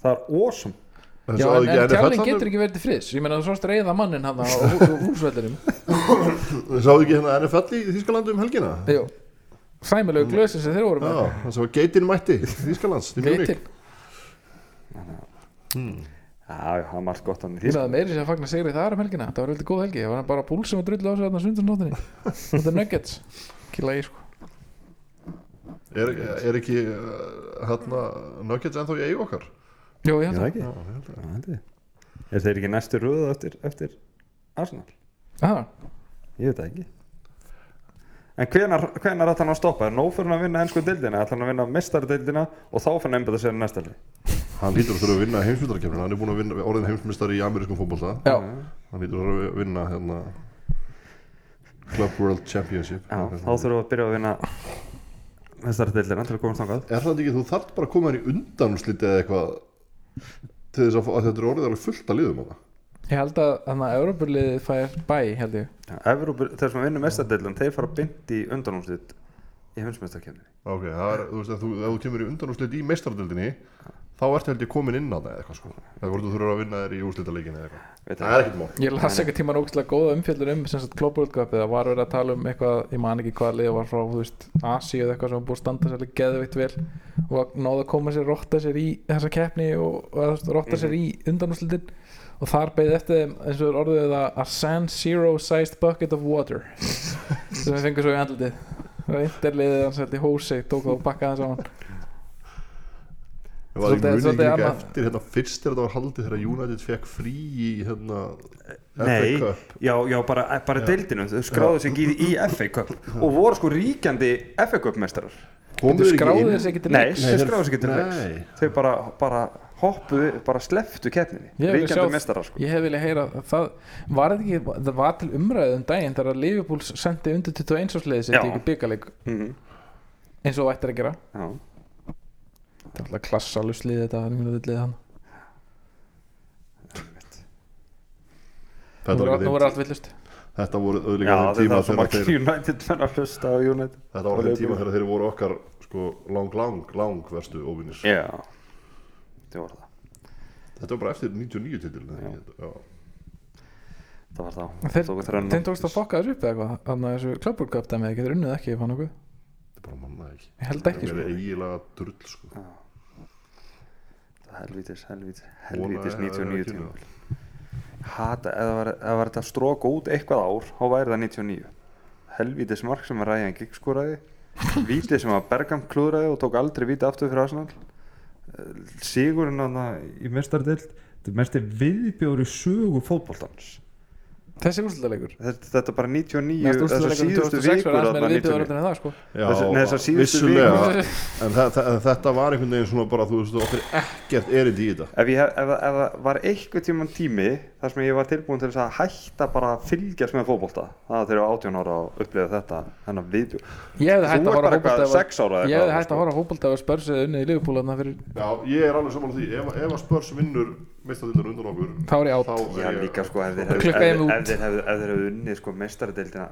Speaker 1: það er awesome
Speaker 3: En
Speaker 2: Já,
Speaker 3: svo
Speaker 2: en,
Speaker 3: ekki
Speaker 2: en
Speaker 3: NFL
Speaker 2: kjálinn
Speaker 3: þarna-
Speaker 2: getur ekki verið til friðs Ég meina þú sást reyða mannin hann á hú- hú- húsvellinum
Speaker 3: Þið sáðu ekki hérna NFL í Þýskalandi um helgina?
Speaker 2: Jú. Sæmilegu glösin sem þeir voru
Speaker 3: Já,
Speaker 2: með
Speaker 3: það sem var geitin mætti til Þýskalands til Munich.
Speaker 2: Geitir,
Speaker 1: Já, já, það er margt gott hann í
Speaker 2: ég meina
Speaker 1: Þýskalandi
Speaker 2: það meiri sem fagna sigri þar um helgina Það var veldig góð helgi, það var bara búl sem var drullu á sig þarna sundarsnóttinni Þetta er nuggets, kýla í sko
Speaker 3: Er, er ekki uh, hérna Nuggets ennþá í eigu okkar?
Speaker 2: Jú, ég
Speaker 1: Já,
Speaker 2: held
Speaker 1: það
Speaker 2: það
Speaker 1: ekki,
Speaker 3: Já, ég held
Speaker 1: Já, held ég. er þeir ekki næstu röðu eftir, eftir Arsenal?
Speaker 2: Aha.
Speaker 1: Ég veit það ekki En hvenar, hvenar ætti hann að stoppa? Er nóg fyrir hann að vinna hensku deildina? ætlar hann að vinna mestardildina og þá fann embæta sér næsta leik?
Speaker 3: það. Hann hlýtur að þurfa að vinna heimsmyndarkefnina, hann er búin að vinna orðin heimsmyndar í amerískum fótbolta.
Speaker 2: Já,
Speaker 3: Hann hlýtur að þurfa að vinna hérna Club World Championship.
Speaker 1: Já, þá þurfum við að byrja að vinna mestardildina til að komast þangað
Speaker 3: Er það ekki, þú þarft bara að koma þér í undanúsliti eða eitthvað til þess að, fá- að þetta er orðið alveg fullt að liðum á það.
Speaker 2: ég held að þannig að Európuliðið fær bæ, held ég
Speaker 1: Já, Evrópu, þeir sem vinna mestardildin þeir fara bynd í undanúrslit í heimsmestarkefni
Speaker 3: Ok, það er, þú veist, ef þú, ef þú kemur í undanúsliti í meistardöldinni, þá ertu held ég komin inn á það eða eitthvað sko. Það voru þú þurfa að vinna þér í úrslitaleikinni eða eitthvað. Það er ekkert mál.
Speaker 2: Ég las eitthvað tíma ógæslega góða umfjöllur um sem sagt Club World Cup eða var verið að tala um eitthvað ég man ekki hvaða liða var frá, þú veist Asi eða eitthvað sem var búið að standa sérlega geðveitt vel og að náða að koma sér, rotta sér í þessa keppni og, og að, þú veist, rotta sér í undanúslitin og þar beðið eftir þeim eins og er orðið það a San Zero sized bucket of water sem við fengum svo í andlitið það er interliðið hans held í hósi tók það og bakkaði saman
Speaker 3: Ég var
Speaker 2: Svolítið-
Speaker 3: svolítið,
Speaker 2: svolítið
Speaker 3: svolítið ekki
Speaker 2: annað.
Speaker 3: eftir hérna fyrst þegar þetta var haldið þegar United fekk frí í hérna
Speaker 1: Nei,
Speaker 3: FA Cup.
Speaker 1: já, já, bara, eh, bara deildinu þau skráðu sig ekki í, í FA Cup og voru sko ríkjandi FA Cup mestarar
Speaker 2: Þú
Speaker 3: Komuð þeir ekki
Speaker 2: skráðið
Speaker 3: inn?
Speaker 2: þessi ekki til
Speaker 1: Nei,
Speaker 2: leiks?
Speaker 1: þeir
Speaker 3: þeir-
Speaker 1: skráðu sig ekki til
Speaker 3: nei.
Speaker 1: leiks Þau bara, bara hoppuðu, bara sleftu keppninni
Speaker 2: Ég vil
Speaker 1: Ríkjandi
Speaker 2: sjá-
Speaker 1: mestarar sko
Speaker 2: Ég hef viljað heyra að það var þetta ekki, það var til umræðu um daginn þegar að Liverpool sendi undir 21 ásleiði sitt
Speaker 1: Já.
Speaker 2: í ykkur byggaleg
Speaker 1: Mhm,
Speaker 2: eins og vættir að gera
Speaker 1: Já,
Speaker 2: Þetta er alltaf klassaluslið þetta er einhvern veginn hann
Speaker 3: Þetta
Speaker 2: Nú
Speaker 3: var
Speaker 2: er-
Speaker 3: ekki
Speaker 2: Nú
Speaker 3: þeim-
Speaker 2: er allt villust
Speaker 3: Þetta
Speaker 1: já
Speaker 3: voru
Speaker 1: það
Speaker 3: auðvitað þeim tíma
Speaker 1: er svo
Speaker 3: þegar
Speaker 1: margir
Speaker 3: þeir
Speaker 1: United menn að hlusta á United
Speaker 3: Þetta var þeim tíma þegar þeir voru okkar sko lang, lang, lang verstu óvinnir
Speaker 1: Já, það var það
Speaker 3: Þetta var bara eftir 99 titilin
Speaker 1: Það var það, hún
Speaker 2: Þeir-
Speaker 1: tóku þrennu.
Speaker 2: Þeim tókst að fokka þessu upp eða eitthvað þannig að þessu klubbúrköp dæmi getur unnið ekki ef hann okkur
Speaker 3: Þetta bara mannaði ekki
Speaker 2: Ég held ekki
Speaker 3: Það
Speaker 2: sko
Speaker 3: er eiginlega drull sko
Speaker 1: Helvítis, helvítis,
Speaker 3: Vona
Speaker 1: helvítis
Speaker 3: að- að-
Speaker 1: 99
Speaker 3: að-
Speaker 1: tíma Hata, eða var, eða var þetta stróka út eitthvað ár, þá væri það 99 Helvítis mark sem að Ryan Giggs skoraði Víti sem að Bergam klúðraði og tók aldrei víti aftur fyrir Arsenal Eh, Sigurinn hann í mestardild Þetta er mestir viðbjóri sögu fótboltans
Speaker 2: þessi úrslutaleikur
Speaker 1: þetta, þetta er bara 99
Speaker 2: Næst
Speaker 1: þessar
Speaker 2: úrslutaleikur
Speaker 1: síðustu
Speaker 2: 2006
Speaker 1: vikur
Speaker 2: var aðeins
Speaker 1: þarna 99.
Speaker 2: meira viðbjóður en það sko
Speaker 3: Já,
Speaker 1: Þessi- nei, þessar síðustu
Speaker 3: vissulega
Speaker 1: vikur.
Speaker 3: en þa- þa- en þetta var einhvern veginn svona bara þú veist, þú áttir ekkert erindi í þetta
Speaker 1: ef, ég, hef- ef, það- ef það var einhver tíman tími þar sem ég var tilbúin til þess að hætta bara að fylgjast með fótbolta það var þegar ég var 18 ára og upplifið þetta þennan viðbjó
Speaker 2: Ég hefði hægt
Speaker 1: þú er
Speaker 2: að horfa
Speaker 1: bara
Speaker 2: á
Speaker 1: eitthvað
Speaker 2: fótbolta
Speaker 1: 6
Speaker 2: ef-
Speaker 1: ára
Speaker 2: Ég hefði hægt að
Speaker 1: sko.
Speaker 2: horfa á fótbolta og spörsið unnið í liðbúlarna fyrir
Speaker 3: Já, ég er alveg saman á því ef, ef að spörs vinnur mistadildar undan okkur
Speaker 2: Þá er ég átt.
Speaker 3: þá
Speaker 1: Já,
Speaker 3: er
Speaker 1: líka sko ef þeir
Speaker 2: Klukka
Speaker 1: hefðu-
Speaker 2: þeim út.
Speaker 1: ef þeir hefðu ef þeir hefðu unnið sko mestaradeildina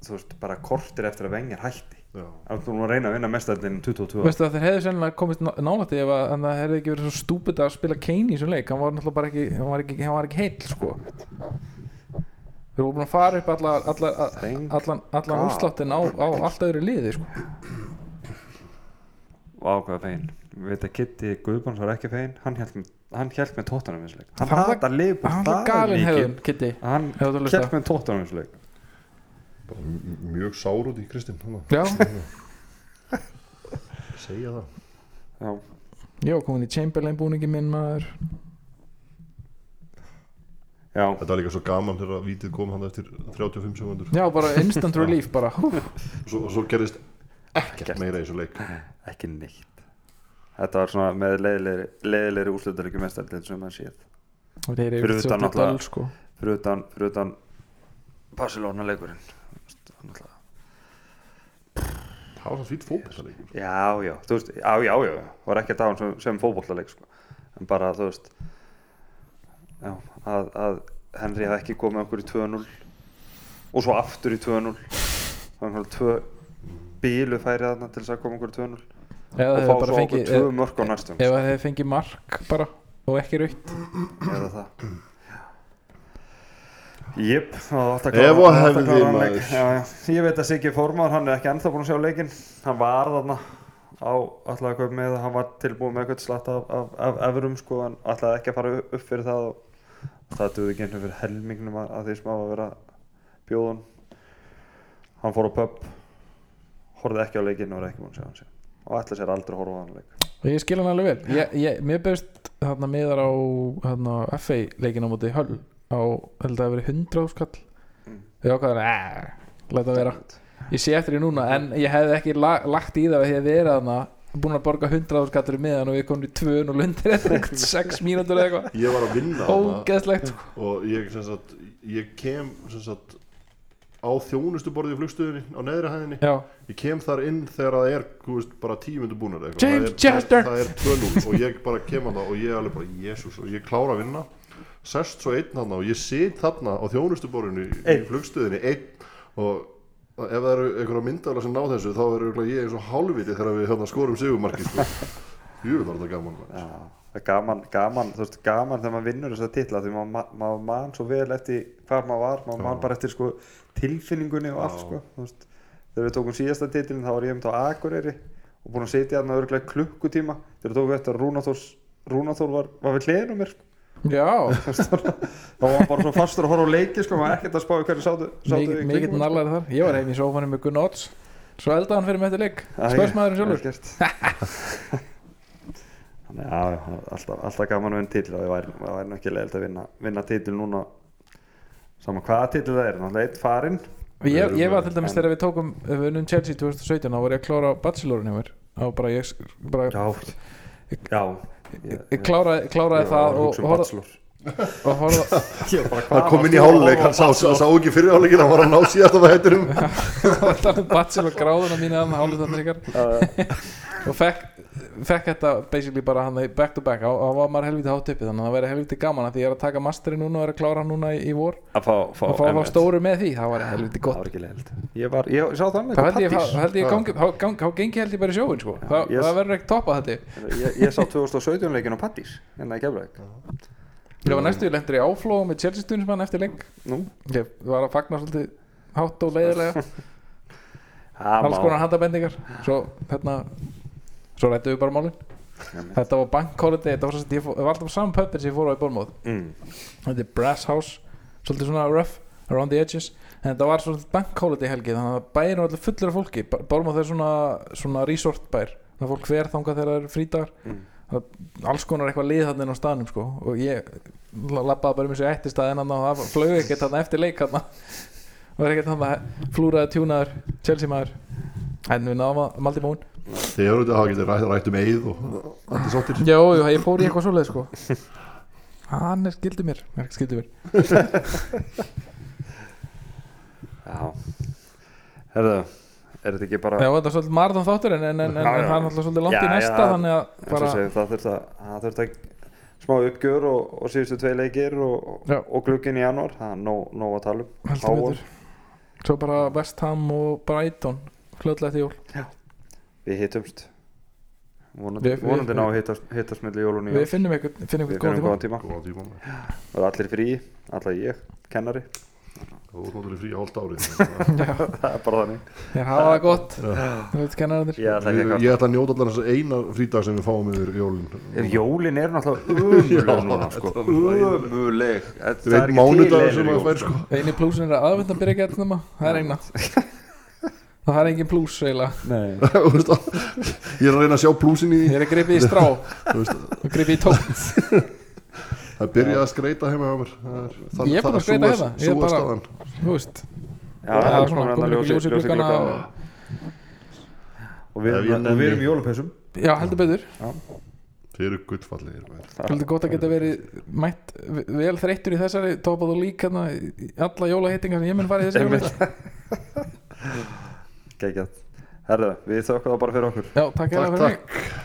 Speaker 1: þú veist, bara kortir eftir að vengjar hætti
Speaker 3: Já.
Speaker 1: ef þú nú að reyna að vinna um mestaradeildina 22 ára
Speaker 2: Veistu að þeir hefði sennilega komist nálætti ef að en það hefði ekki verið svo stúpid að spila Kane í þessum leik hann var náttúrulega bara ekki hann var ekki, hann var ekki heill sko Þeir voru búin að fara upp allar allar, allan,
Speaker 1: Thank
Speaker 2: allan, allan
Speaker 1: God.
Speaker 2: úrsláttinn á, á allt öðru liði sko
Speaker 1: Vá, hvað fein Við veit að Kitty Guðbáns var ekki fein Hann held, hann held með tóttanum eins og leik Hann
Speaker 2: Hann var-
Speaker 1: hatar liðbúr
Speaker 2: Hann var galin hefðun, Kitty
Speaker 1: Hann
Speaker 2: Ef þú hlustar.
Speaker 1: held með tóttanum eins og leik
Speaker 3: bara m- mjög sár út í Kristinn hann að
Speaker 2: Já,
Speaker 3: segja það
Speaker 1: Já,
Speaker 2: ég var komin í Chamberlain búningi minn maður
Speaker 1: já
Speaker 3: þetta var líka svo gaman þegar að vítið kom hann eftir 35 sekundur
Speaker 2: Já, bara instant relief bara Hú,
Speaker 3: svo, svo gerist ekkert meira í þessu leik
Speaker 1: ekki neitt Þetta var svona með leiðilegri, leiðilegri úrslutaleikum mestaradeildin sem hann séð
Speaker 2: Þeir eru
Speaker 1: Fyrir
Speaker 2: yfir
Speaker 1: utan
Speaker 2: svo
Speaker 1: náttúrulega-
Speaker 2: döl sko
Speaker 1: Fyrir utan, fyrir utan Barcelona leikurinn Hann alltaf
Speaker 3: það var svo fýtt fókbæðarleikur
Speaker 1: Já, já, þú veist, já, já, já, var ekki að hann sem, sem fótbollaleik, sko, en bara, þú veist, já, að, að Henry hafði ekki komið okkur í 2-0 og svo aftur í 2-0, það var einhverjum tvö bílu færið þarna til þess að koma okkur í 2-0
Speaker 2: Eða
Speaker 1: og
Speaker 2: þeir
Speaker 1: fá
Speaker 2: bara
Speaker 1: svo okkur
Speaker 2: fengið
Speaker 1: tvö
Speaker 2: e-
Speaker 1: mörg á næstum,
Speaker 2: Ef að þeir fengið mark bara og ekki raukt
Speaker 1: eða það. Jep, það var alltaf
Speaker 3: Ef og hefði maður.
Speaker 1: Já, já, ég veit að Siggi Formar, hann er ekki ennþá búin að sjá leikinn, hann var þarna á allavega eitthvað með að hann var tilbúin með eitthvað slatt af, af, af efrum sko, en allavega ekki að fara upp upp fyrir það og það duði ekki einhvern fyrir helmingnum að, að því sem hafa verið að bjóða hann hann fór á pub horfði ekki á leikinn og var ekki búin að sjá hann síðan og ætla sér aldrei að horfa á hann leik
Speaker 2: Og ég skil hann alveg vel ég, ég, Mér byrst þarna miðar á hérna, þarna, FA leikin á móti höll á, held að það hafi verið 100 skall Ég ákvaður, að læta vera Ég sé eftir því núna, en ég hefði ekki la, lagt í það að ég hefði verið þarna búin að borga 100 skallur í miðan og við komum í 2 og lundir eftir 6 mínútur eða eitthvað
Speaker 3: ég var að vinna þarna
Speaker 2: Ógeðslegt sko.
Speaker 3: og ég, sem sagt, ég kem sem sagt, á þjónustuborði í flugstöðinni á neðri hæðinni
Speaker 2: Já,
Speaker 3: ég kem þar inn þegar það er þú veist, bara tímundu búnar eitthvað.
Speaker 2: James
Speaker 3: það er,
Speaker 2: Chester!
Speaker 3: það er 2-0 og ég bara kem hann og ég er alveg bara jésús og ég klára að vinna sest svo einn hann og ég sit þarna á þjónustuborðinu í- í
Speaker 1: Einn.
Speaker 3: flugstöðinni einn og ef það eru einhverja myndala sem ná þessu þá er örugglega ég eins og hálfviti þegar við hérna, skorum sigumarki sko. jú, það er þetta gaman maður.
Speaker 1: Já, það er gaman, gaman, þú veist, gaman þegar maður vinnur þess að titla því maður ma- maður man svo vel eftir hvað maður var, maður man bara eftir sko, tilfinningunni og allt
Speaker 3: Já.
Speaker 1: sko, þú veist, þegar við tókum síðasta titlin þá var ég um þetta á Akureyri og búin að sitja þarna örglega klukkutíma þegar við tókum eftir að Rúnaþór, Rúnaþór var, var við hliðin á mér sko,
Speaker 2: já
Speaker 1: þú veist, þá var maður bara svo fastur að horfa á leiki sko, maður ekkert að spá í hverju sátu, sátu
Speaker 2: Mikið,
Speaker 1: í
Speaker 2: mikið
Speaker 1: kringum, sko.
Speaker 2: nallar þar Ég var heim í sófanum með Gunn Odds Svo eldaði hann fyrir með þetta leik
Speaker 1: Æ,
Speaker 2: Spörsmaðurinn sjálfur
Speaker 1: vel gert. Þannig að já, já, alltaf, alltaf gaman að vinna titil og það væri, það væri nú ekki leiðilegt að vinna, vinna titil núna saman hvaða titil það er, náttúrulega eitt farinn
Speaker 2: ég, ég var til dæmis þegar við tókum Við unnum Chelsea 2017 Þá var ég að klára bachelorin hjá mér Þá bara ég bara,
Speaker 1: Já, já Ég,
Speaker 2: ég kláraði,
Speaker 1: var
Speaker 2: kláraði það
Speaker 1: að
Speaker 2: og
Speaker 1: hugsa um
Speaker 2: horfði
Speaker 1: bachelor
Speaker 2: og horfði
Speaker 1: Ég var bara, hvað
Speaker 3: það kom
Speaker 1: varstu
Speaker 3: inn í
Speaker 1: að horfa á
Speaker 3: háluleik, hann sá, sá,
Speaker 1: Bachelor?
Speaker 3: sá ekki fyrir háluleikin hann var að ná síðast af hætturum
Speaker 2: á tala um bachelor gráðuna mínu þannig hálfutannir ykkar og fekk, fekk þetta basically bara hann back to back og var maður helviti hátt uppi þannig að það væri helviti gaman að því ég er að taka masteri núna og er að klára hann núna í, í vor
Speaker 1: Að fá, fá,
Speaker 2: og fá að
Speaker 1: einmitt.
Speaker 2: fá stóru með því það væri helviti
Speaker 1: Það
Speaker 2: gott
Speaker 1: var ekki leiðilegt Ég var, ég sá það með
Speaker 2: Þá held ég,
Speaker 1: pattís.
Speaker 2: þá held ég gangi, þá gangi, þá gengi held ég bara í sjóin sko. Þa,
Speaker 1: yes.
Speaker 2: það verður ekki topp að þetta
Speaker 1: Ég, ég sá 2017 leikin á Pattís hérna í Keflæk
Speaker 2: ég
Speaker 1: Mm.
Speaker 2: var næstu lendur í áflóð með Chelsea stuðnismann eftir leng
Speaker 1: Nú,
Speaker 2: ég var að fagna svolítið hátt og leiðilega
Speaker 1: það
Speaker 2: alls konar handabendingar svo hérna svo rættu við bara málin þetta var bankholiday, þetta var, svo, ég, fó, ég var alltaf á saman pöppin sem ég fór á í bólmóð
Speaker 1: mm.
Speaker 2: þetta er Brass House, svolítið svona rough around the edges, en þetta var svolítið bankholiday helgi, þannig að bærin var alltaf fullur af fólki bólmóð er svona, svona resort bær þannig að fólk hver þangað þegar það eru frídagar
Speaker 1: Mm.
Speaker 2: Það- alls konar eitthvað lið þarna inn á staðnum sko. og ég lappaði bara um þessu eftir staðin og það flög ekkert þarna eftir leik þarna og er ekkert þarna flúraði tjúnaður, Chelsea maður en við náðum að maldi mún
Speaker 3: Þið hefur þetta hafa getið rætt, rætt um eigið og allir sáttir
Speaker 2: Jó, jú, ég fór í eitthvað svoleið sko Hann er skildið mér, er ekki skildið mér
Speaker 1: Já Herðu, er þetta ekki bara
Speaker 2: Já, þetta er svolítið marðan þáttur en, en, en, en
Speaker 1: Já, já.
Speaker 2: hann er alltaf svolítið langt
Speaker 1: Já,
Speaker 2: í
Speaker 1: já,
Speaker 2: næsta
Speaker 1: það-
Speaker 2: þannig að
Speaker 1: eins og
Speaker 2: bara,
Speaker 1: segir, það þurft að, það þurft að smá uppgjör og, og síðustu tvei leikir og,
Speaker 2: Já.
Speaker 1: og glukkin í januar það er nóg, nóg að tala um
Speaker 2: heldur
Speaker 1: Hávar.
Speaker 2: betur Svo bara West Ham og Brighton fljóðlega til jól
Speaker 1: við hittumst vonandi,
Speaker 2: Við- við-
Speaker 1: vonandi ná að hittast, hittast melli jól og nýja
Speaker 2: Við finnum eitthvað, finnum
Speaker 1: við
Speaker 2: eitthvað góð
Speaker 1: finnum
Speaker 2: tíma
Speaker 1: góðan tíma
Speaker 3: Góða tíma maður.
Speaker 1: og allir frí, allar ég, kennari
Speaker 3: Þú ert náttúrulega frí hálft árið
Speaker 1: það er bara þannig
Speaker 2: Ég hafa það gott Þú veit kennararnir
Speaker 1: ég ætla ekki
Speaker 3: Við-
Speaker 1: að
Speaker 3: Ég ætla að njóta allar þess eina frídag sem við fáum yfir jólin
Speaker 1: kvarta jólin eru náttúrulega
Speaker 3: Já,
Speaker 1: umuleg núna sko
Speaker 3: þetta er-
Speaker 1: umuleg Þetta-
Speaker 3: Þetta
Speaker 1: það er
Speaker 3: er
Speaker 1: ekki
Speaker 3: einn
Speaker 1: til
Speaker 3: mánudagur
Speaker 1: leiðir í
Speaker 3: sem að
Speaker 1: jól.
Speaker 3: fær sko
Speaker 2: Einu plúsin er að aðvendan byrja ekki að snemma Það er eina Það er engin plús eiginlega
Speaker 1: Nei.
Speaker 3: Þú veist að- Ég er að reyna að sjá blúsin í
Speaker 2: Ég
Speaker 3: því
Speaker 2: er að gripa í strá og
Speaker 3: Þú veist,
Speaker 2: gripa í tótt
Speaker 3: Það byrjaði að skreita heima hjá mér Það er- það-
Speaker 2: Ég er búinn
Speaker 3: það
Speaker 2: að skreita
Speaker 3: sú
Speaker 2: hérna. Ég er
Speaker 3: Sú er
Speaker 2: bara-
Speaker 3: staðan
Speaker 2: Þú veist
Speaker 1: Já, það er
Speaker 2: svona
Speaker 1: svona
Speaker 2: komin
Speaker 1: ljósi,
Speaker 2: ljós í
Speaker 1: ljósi, ljósi
Speaker 2: gluggana
Speaker 1: glugga
Speaker 2: og-
Speaker 1: og við
Speaker 3: Ef ég
Speaker 1: erum, og við erum
Speaker 3: nenni.
Speaker 1: í jólapessum
Speaker 2: Já, heldur betur
Speaker 3: Þið eru guttfallegir maður.
Speaker 2: Heldur gott að geta verið mætt vel þreyttur í þessari topað og líka þarna í alla jólaheitinga sem ég mun fara í þessari
Speaker 1: Einmitt.
Speaker 2: jólaheita.
Speaker 1: geggjart herðu, við þökkum það bara fyrir okkur
Speaker 2: Já, takk
Speaker 3: Takk,
Speaker 2: hérna fyrir mig
Speaker 3: takk